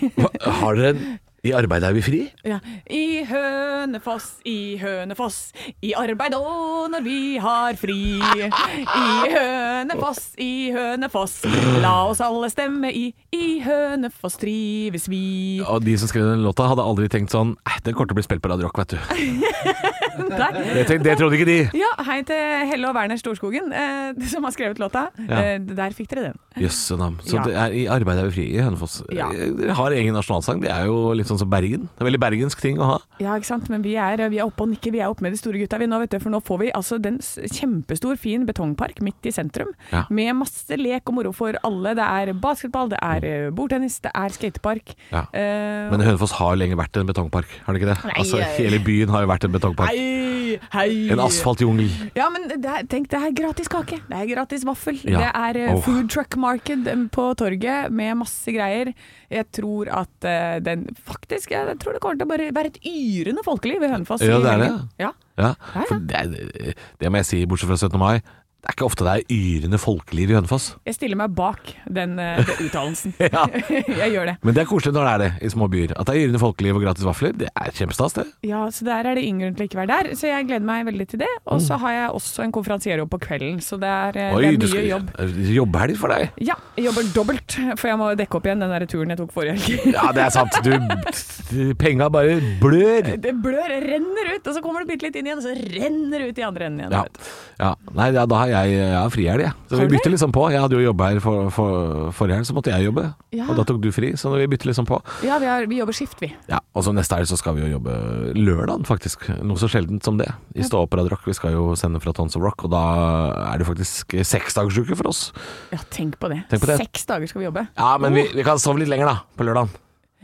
[SPEAKER 3] Har dere en I arbeid er vi fri?
[SPEAKER 4] [LAUGHS] Ja. I Hønefoss, i Hønefoss, i arbeid og når vi har fri. I Hønefoss, i Hønefoss, la oss alle stemme i. I Hønefoss trives vi.
[SPEAKER 3] Og de som skrev den låta, hadde aldri tenkt sånn «Eh, Den kommer til å bli spilt på Radio Rock, vet du.
[SPEAKER 4] Der.
[SPEAKER 3] Det, tenkte, det trodde ikke de.
[SPEAKER 4] Ja, hei til Helle og Werner Storskogen, eh, som har skrevet låta.
[SPEAKER 3] Ja.
[SPEAKER 4] Eh, der fikk dere den.
[SPEAKER 3] Jøsse navn. Så
[SPEAKER 4] Ja.
[SPEAKER 3] det er, i arbeid er vi fri i Hønefoss. Eh,
[SPEAKER 4] Ja.
[SPEAKER 3] Dere har egen nasjonalsang. Det er jo litt sånn som Bergen. Det er veldig bergensk ting å ha.
[SPEAKER 4] Ja, ikke sant, men vi er, vi er oppe og nikker, vi er oppe med de store gutta vi nå, vet du, for nå får vi altså den s- kjempestor, fin betongpark midt i sentrum,
[SPEAKER 3] Ja.
[SPEAKER 4] med masse lek og moro for alle. Det er basketball, det er eh, bordtennis, det er skatepark.
[SPEAKER 3] Ja.
[SPEAKER 4] Eh,
[SPEAKER 3] Men Hønefoss har jo lenge vært en betongpark, har det ikke det?
[SPEAKER 4] Nei,
[SPEAKER 3] altså,
[SPEAKER 4] jeg-
[SPEAKER 3] [LAUGHS] hele byen har jo vært en betongpark.
[SPEAKER 4] Hei, hei.
[SPEAKER 3] En asfaltjungel.
[SPEAKER 4] Ja, men det er, tenk, det er gratis kake. Det er gratis vaffel.
[SPEAKER 3] Ja.
[SPEAKER 4] Det er eh,
[SPEAKER 3] Åh.
[SPEAKER 4] food truck marked eh, på torget med masse greier. Jeg tror at eh, den faktisk Jeg tror det kommer til å bare være et yrende folkeliv i Hønefoss.
[SPEAKER 3] Ja,
[SPEAKER 4] i
[SPEAKER 3] det er
[SPEAKER 4] helgen. Ja.
[SPEAKER 3] Ja.
[SPEAKER 4] Ja, ja.
[SPEAKER 3] For det, er- det må jeg si, bortsett fra 17. mai. Det er ikke ofte det er yrende folkeliv i Hønefoss.
[SPEAKER 4] [LAUGHS] Jeg stiller meg bak den, eh, den
[SPEAKER 3] [LAUGHS]
[SPEAKER 4] uttalelsen.
[SPEAKER 3] Ja.
[SPEAKER 4] jeg gjør det.
[SPEAKER 3] Men det er koselig når det er det i små byer. At det er yrende folkeliv og gratis vafler, det er kjempestas, det.
[SPEAKER 4] Ja, så Der er det ingen grunn til ikke å være der, så jeg gleder meg veldig til det. Og så har jeg også en konferansierjobb på kvelden, så det er, eh, det er
[SPEAKER 3] Mm. du
[SPEAKER 4] mye
[SPEAKER 3] skal-
[SPEAKER 4] jobb.
[SPEAKER 3] Jobbhelg for deg.
[SPEAKER 4] Ja, jeg jobber dobbelt, for jeg må dekke opp igjen den der turen jeg tok forrige helg.
[SPEAKER 3] Ja, det er sant. Du [LAUGHS] Penga bare blør.
[SPEAKER 4] [LAUGHS] Det blør, renner ut, og så kommer det bitte litt inn igjen, og så renner det ut i andre enden igjen.
[SPEAKER 3] Ja.
[SPEAKER 4] vet du.
[SPEAKER 3] ja. Nei, ja, da har jeg, jeg har frihelg, jeg. Så
[SPEAKER 4] Har
[SPEAKER 3] vi
[SPEAKER 4] du
[SPEAKER 3] bytter liksom på. Jeg hadde jo jobba her for, for, forrige helg, så måtte jeg jobbe.
[SPEAKER 4] Ja.
[SPEAKER 3] Og da tok du fri, så vi bytter liksom på.
[SPEAKER 4] ja vi, har, vi jobber skift, vi.
[SPEAKER 3] Ja, Og så neste helg så skal vi jo jobbe lørdagen, faktisk. Noe så sjeldent som det. I Stå opp Radio Rock. Vi skal jo sende fra Tons of Rock, og da er det faktisk seksdagersuke for oss.
[SPEAKER 4] Ja, tenk på det.
[SPEAKER 3] Tenk på det.
[SPEAKER 4] Seks dager skal vi jobbe.
[SPEAKER 3] Ja, men vi, vi kan sove litt lenger, da. På lørdagen.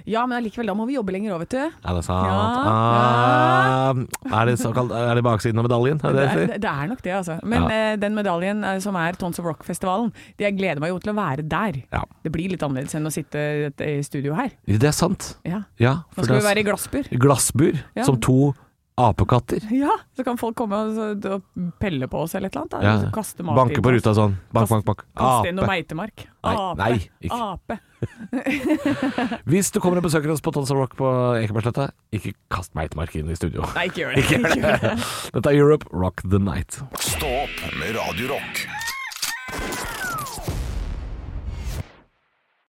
[SPEAKER 4] Ja, men allikevel, da må vi jobbe lenger òg, vet du.
[SPEAKER 3] Er det sant?
[SPEAKER 4] Ja.
[SPEAKER 3] Ah, er, det såkalt, er det baksiden av medaljen? Er det
[SPEAKER 4] Det
[SPEAKER 3] det jeg
[SPEAKER 4] er,
[SPEAKER 3] sier?
[SPEAKER 4] det er nok det, altså. Men eh, den medaljen eh, som er Tons of Rock-festivalen, det- jeg gleder meg jo til å være der.
[SPEAKER 3] Ja.
[SPEAKER 4] Det blir litt annerledes enn å sitte i et- i studio her.
[SPEAKER 3] Det er sant.
[SPEAKER 4] Ja.
[SPEAKER 3] Ja,
[SPEAKER 4] Nå
[SPEAKER 3] for
[SPEAKER 4] skal vi
[SPEAKER 3] det
[SPEAKER 4] være i glassbur.
[SPEAKER 3] er glassbur
[SPEAKER 4] Ja.
[SPEAKER 3] som to apekatter.
[SPEAKER 4] Ja, så kan folk komme og, så- og pelle på oss eller et eller annet. Da.
[SPEAKER 3] Ja.
[SPEAKER 4] Så Kaste mat
[SPEAKER 3] Banke
[SPEAKER 4] inn
[SPEAKER 3] på
[SPEAKER 4] oss.
[SPEAKER 3] ruta sånn. Bank,
[SPEAKER 4] Kast-
[SPEAKER 3] bank, bank.
[SPEAKER 4] Kaste inn noe
[SPEAKER 3] Ape.
[SPEAKER 4] meitemark.
[SPEAKER 3] Nei,
[SPEAKER 4] Ape.
[SPEAKER 3] nei, ikke.
[SPEAKER 4] Ape.
[SPEAKER 3] Hvis du kommer og besøker oss på Tons of Rock på Ekebergsletta, ikke kast meitmark inn i studio.
[SPEAKER 4] Nei, ikke gjør det.
[SPEAKER 3] Dette er Europe Rock the Night.
[SPEAKER 2] Stå opp med Radio Rock.